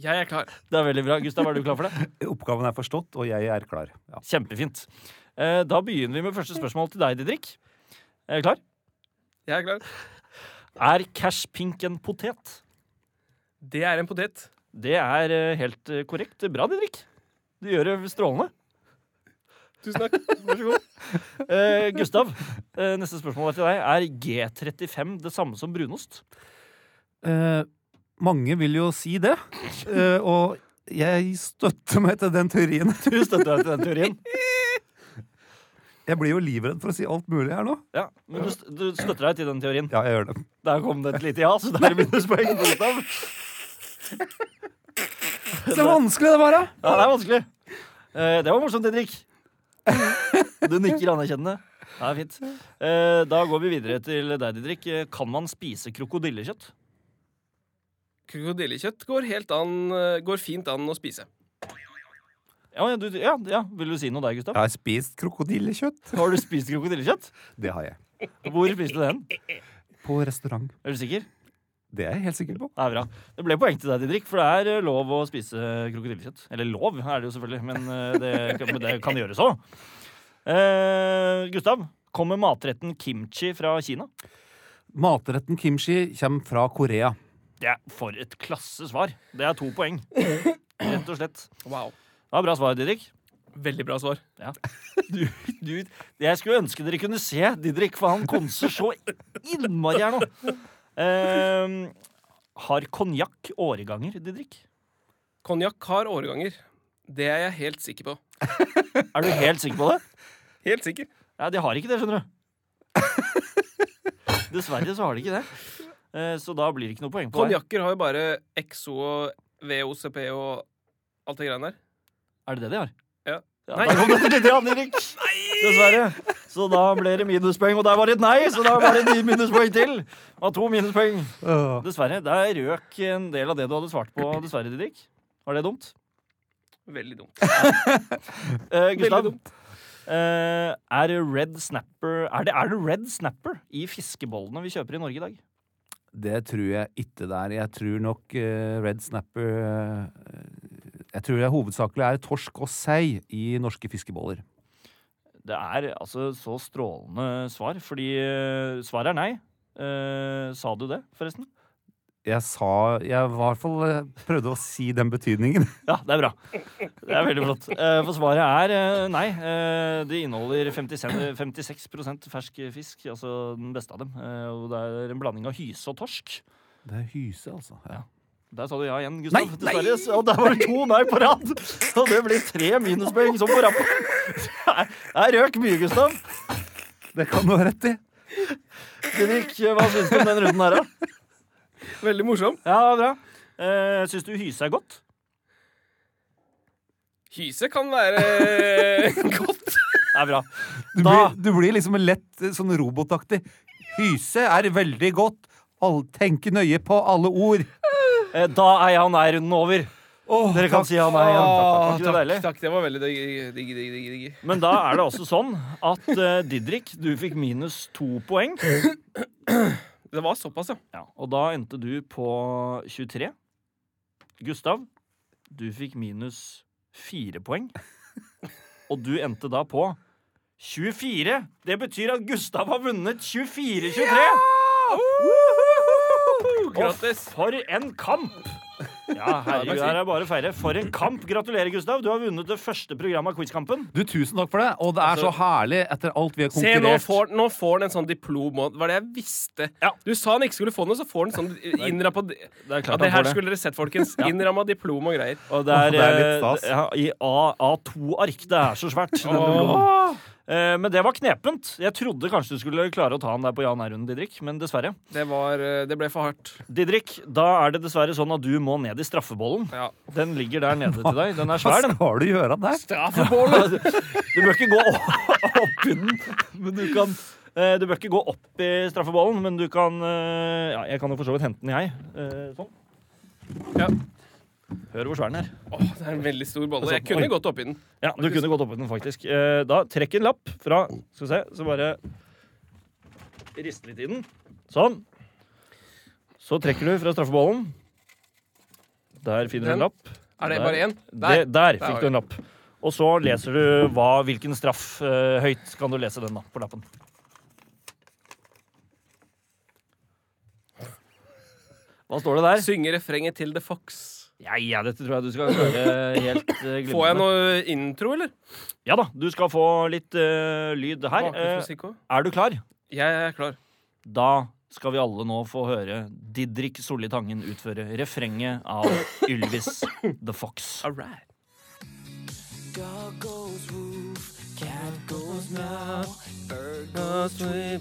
[SPEAKER 4] Jeg er klar.
[SPEAKER 2] Det er veldig bra. Gustav, er du klar for det?
[SPEAKER 3] Oppgaven er forstått, og jeg er klar. Ja.
[SPEAKER 2] Kjempefint. Eh, Da begynner vi med første spørsmål til deg, Didrik. Er du klar?
[SPEAKER 4] Jeg er klar.
[SPEAKER 2] Er cash pink en potet?
[SPEAKER 4] Det er en potet.
[SPEAKER 2] Det er eh, helt eh, korrekt. Bra, Didrik. Du gjør det strålende.
[SPEAKER 4] Tusen takk. Vær så god.
[SPEAKER 2] Eh, Gustav, eh, neste spørsmål er til deg. Er G35 det samme som brunost?
[SPEAKER 3] Eh, mange vil jo si det, eh, og jeg støtter meg til den teorien.
[SPEAKER 2] Du støtter deg til den teorien.
[SPEAKER 3] Jeg blir jo livredd for å si alt mulig her nå.
[SPEAKER 2] Ja, men du, st- du støtter deg til den teorien.
[SPEAKER 3] Ja, jeg gjør det.
[SPEAKER 2] Der kom det et lite ja, så der er minuspoeng. for Gustav.
[SPEAKER 3] Så vanskelig det var, da!
[SPEAKER 2] Ja, det er vanskelig. Eh, det var morsomt, Henrik. Du nikker anerkjennende. Det er fint. Eh, da går vi videre til deg, Didrik. Eh, Kan man spise krokodillekjøtt?
[SPEAKER 4] Krokodillekjøtt går helt an eh, Går fint an å spise.
[SPEAKER 2] Ja, ja, du, ja, ja. Vil du si noe der, Gustav?
[SPEAKER 3] Jeg har spist krokodillekjøtt.
[SPEAKER 2] Har du spist krokodillekjøtt?
[SPEAKER 3] Det har jeg.
[SPEAKER 2] Hvor spiste du den?
[SPEAKER 3] På restaurant.
[SPEAKER 2] Er du sikker?
[SPEAKER 3] Det er jeg helt sikker på.
[SPEAKER 2] Det er bra. Det ble poeng til deg, Didrik, for det er eh, lov å spise krokodillekjøtt. Eller lov er det jo selvfølgelig, men eh, det, men det kan gjøres òg. Eh, Gustav, kommer matretten kimchi fra Kina?
[SPEAKER 3] Matretten kimchi kommer fra Korea.
[SPEAKER 2] Det er for et klasse svar. Det er to poeng. Rett og slett.
[SPEAKER 4] Wow.
[SPEAKER 2] Det var bra svar, Didrik.
[SPEAKER 4] Veldig bra svar.
[SPEAKER 2] Du, du, jeg skulle ønske dere kunne se Didrik, for han konser så innmari her nå. Ehm, har konjakk åreganger, Didrik?
[SPEAKER 4] Konjakk har årganger. Det er jeg helt sikker på.
[SPEAKER 2] Er du helt sikker på det?
[SPEAKER 4] Helt sikker.
[SPEAKER 2] Ja, de har ikke det, skjønner du. Dessverre så har de ikke det. Eh, Så da blir det ikke noe poeng på deg.
[SPEAKER 4] Konjakker har jo bare XO og VOCP og alt det greiene der.
[SPEAKER 2] Er det det de har?
[SPEAKER 4] Ja.
[SPEAKER 2] Ja,
[SPEAKER 4] Nei.
[SPEAKER 2] da kom det til Jan Erik. Dessverre. Så da ble det minuspoeng, og der var det et nei, så da var det ni minuspoeng til. Det var to minuspoeng. Dessverre. Der røk en del av det du hadde svart på, dessverre, Didrik. Var det dumt?
[SPEAKER 4] Veldig dumt.
[SPEAKER 2] Eh, Gustav,
[SPEAKER 4] Veldig
[SPEAKER 2] eh, er det red snapper er det, er det red snapper i fiskebollene vi kjøper i Norge i dag?
[SPEAKER 3] Det tror jeg ikke det er. Jeg tror nok eh, Red Snapper eh, Jeg tror det hovedsakelig er torsk og sei i norske fiskeboller.
[SPEAKER 2] Det er altså så strålende svar, fordi eh, svaret er nei. Eh, sa du det, forresten?
[SPEAKER 3] Jeg sa Jeg var i hvert fall eh, prøvde å si den betydningen.
[SPEAKER 2] Ja, det er bra. Det er veldig flott. Eh, For svaret er eh, nei. Eh, Det inneholder 50 sen- 56 fersk fisk, altså den beste av dem. Eh, Og det er en blanding av hyse og torsk.
[SPEAKER 3] Det er hyse, altså. Ja.
[SPEAKER 2] Der sa du ja igjen, Gustav.
[SPEAKER 3] Nei,
[SPEAKER 2] Dessverre. Så- Og der var det to nei på rad! Så det blir tre minuspoeng som på rappen. Der røk mye, Gustav.
[SPEAKER 3] Det kan du ha rett i.
[SPEAKER 2] Didrik, hva syns du om den runden her, da?
[SPEAKER 4] Veldig morsom.
[SPEAKER 2] Ja, bra. Eh, Syns du hyse er godt?
[SPEAKER 4] Hyse kan være godt.
[SPEAKER 2] Det er bra.
[SPEAKER 3] Du
[SPEAKER 2] Da-
[SPEAKER 3] blir, du blir liksom lett eh, sånn robotaktig. Hyse er veldig godt. All, tenk nøye på alle ord.
[SPEAKER 2] Eh, Da er ja og nei-runden over. Dere kan si ja og nei igjen. Var ikke det
[SPEAKER 4] takk,
[SPEAKER 2] deilig?
[SPEAKER 4] takk. Det var veldig digg, digg, digg, digg, digg.
[SPEAKER 2] Men da er det også sånn at eh, Didrik, du fikk minus to poeng.
[SPEAKER 4] Det var såpass, ja.
[SPEAKER 2] Ja, og da endte du på 23. Gustav, du fikk minus fire poeng. Og du endte da på 24. Det betyr at Gustav har vunnet 24-23.
[SPEAKER 4] Grattis.
[SPEAKER 2] Og for en kamp! Ja, herregud, her er det bare å feire. For en kamp! Gratulerer, Gustav. Du har vunnet det første programmet av Quizkampen.
[SPEAKER 3] Du, Tusen takk for det. Og det er så herlig etter alt vi har
[SPEAKER 4] Altså- Se, nå
[SPEAKER 3] konkurrert.
[SPEAKER 4] får, nå får den en sånn diplom òg. Det var det jeg visste.
[SPEAKER 2] Ja.
[SPEAKER 4] Du sa han ikke skulle få noe, så får han sånn innrappa
[SPEAKER 2] Det er
[SPEAKER 4] ja,
[SPEAKER 2] klart han
[SPEAKER 4] Det
[SPEAKER 2] får
[SPEAKER 4] her
[SPEAKER 2] det.
[SPEAKER 4] skulle dere sett, folkens. Innramma diplom og greier.
[SPEAKER 2] Og det er,
[SPEAKER 3] Det er litt
[SPEAKER 2] eh,
[SPEAKER 3] stas.
[SPEAKER 2] ja, I A, A2-ark. Det er så svært. den diplomen. Eh, Men det var knepent. Jeg trodde kanskje du skulle klare å ta han der på Jan R-runden, Didrik. Men dessverre.
[SPEAKER 4] Det, var, eh, det ble for hardt.
[SPEAKER 2] Didrik, da er det dessverre sånn at du må ned i straffebollen.
[SPEAKER 4] Ja.
[SPEAKER 2] Den ligger der nede til deg. Den er
[SPEAKER 3] Hva
[SPEAKER 2] svær, den.
[SPEAKER 3] skal du gjøre der?
[SPEAKER 2] Du bør ikke gå o- opp i den, men du kan eh, Du bør ikke gå opp i straffebollen, men du kan eh, Ja, jeg kan jo for så vidt hente den, jeg. Eh, Sånn.
[SPEAKER 4] Ja.
[SPEAKER 2] Hør hvor svær den er.
[SPEAKER 4] Åh, det er en veldig stor bolle. Jeg kunne
[SPEAKER 2] Altså, Oi.
[SPEAKER 4] gått oppi den.
[SPEAKER 2] Ja, du kunne gått opp med den, faktisk. Eh, Da trekk en lapp fra Skal vi se, så bare riste litt i den. Sånn. Så trekker du fra straffebollen. Der finner du
[SPEAKER 4] Den.
[SPEAKER 2] en lapp.
[SPEAKER 4] Er det
[SPEAKER 2] Der.
[SPEAKER 4] bare én?
[SPEAKER 2] Der,
[SPEAKER 4] Der.
[SPEAKER 2] der
[SPEAKER 4] har
[SPEAKER 2] fikk du en lapp. Og så leser du hva, hvilken straff eh, høyt kan du lese den da, på lappen. Hva står det der?
[SPEAKER 4] Synge refrenget til The Fox.
[SPEAKER 2] Ja, ja, dette tror jeg du skal klare helt uh, glimrende.
[SPEAKER 4] Får jeg noe intro, eller?
[SPEAKER 2] Ja da, du skal få litt eh, lyd her. Eh,
[SPEAKER 4] Bakgrunnsmusikk òg?
[SPEAKER 2] er du klar?
[SPEAKER 4] Jeg er klar.
[SPEAKER 2] Da skal vi alle nå få høre Didrik Solli Tangen utføre refrenget av Ylvis The Fox.
[SPEAKER 4] All right.
[SPEAKER 5] Dog goes woof, cat goes meow, bird
[SPEAKER 4] Vi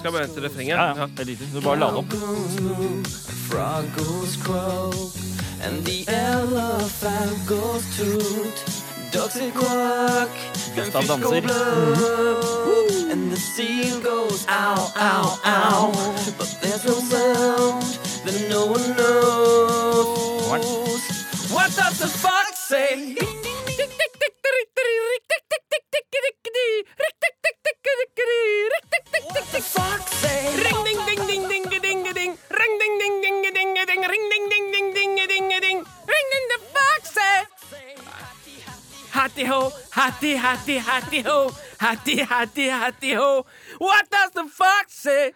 [SPEAKER 4] skal bare hente refrenget.
[SPEAKER 2] Ja, ja,
[SPEAKER 4] Ja.
[SPEAKER 2] det er lite. Du bare lade opp.
[SPEAKER 5] goes moo, frog goes crow, and the elephant goes toot. Ducks they quack, and
[SPEAKER 2] Gustav
[SPEAKER 5] fish go
[SPEAKER 2] danser.
[SPEAKER 5] blub, Mm-hmm. and the seal goes ow, ow, ow. But there's no sound that no one knows. What does the fox say? What the fox say?
[SPEAKER 4] Hattie ho, hattie, hattie, hattie ho. Hattie, hattie, hattie ho. What does the fox say?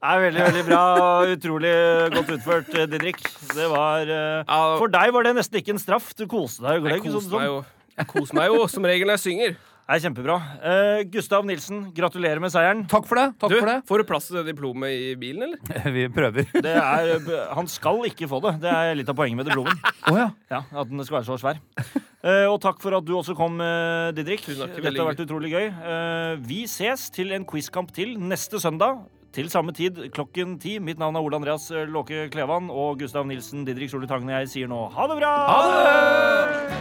[SPEAKER 2] Det er veldig veldig bra og utrolig godt utført, eh, Didrik. Det var, eh,
[SPEAKER 4] Ja.
[SPEAKER 2] for deg var det nesten ikke en straff. Du koste deg. og gløgg,
[SPEAKER 4] Jeg
[SPEAKER 2] sånn
[SPEAKER 4] koser
[SPEAKER 2] som-
[SPEAKER 4] meg jo. Jeg koser meg jo som regel når jeg synger.
[SPEAKER 2] Det er kjempebra. Eh, Gustav Nilsen, gratulerer med seieren.
[SPEAKER 3] Takk for det. takk
[SPEAKER 4] Du,
[SPEAKER 3] for det.
[SPEAKER 4] får du plass til det diplomet i bilen, eller?
[SPEAKER 3] Vi prøver.
[SPEAKER 2] Det er, han skal ikke få det. Det er litt av poenget med diplomen.
[SPEAKER 3] Å ja.
[SPEAKER 2] Ja, At den skal være så svær. Eh, og takk for at du også kom, eh, Didrik.
[SPEAKER 4] Tusen takk,
[SPEAKER 2] Dette
[SPEAKER 4] veldig
[SPEAKER 2] har vært utrolig gøy. Eh, vi ses til en quizkamp til neste søndag. Til samme tid klokken ti. Mitt navn er Ole eh, Andreas Låke Klevan. Og Gustav Nilsen, Didrik Solli Tangen og jeg sier nå ha det bra!
[SPEAKER 4] Ha det!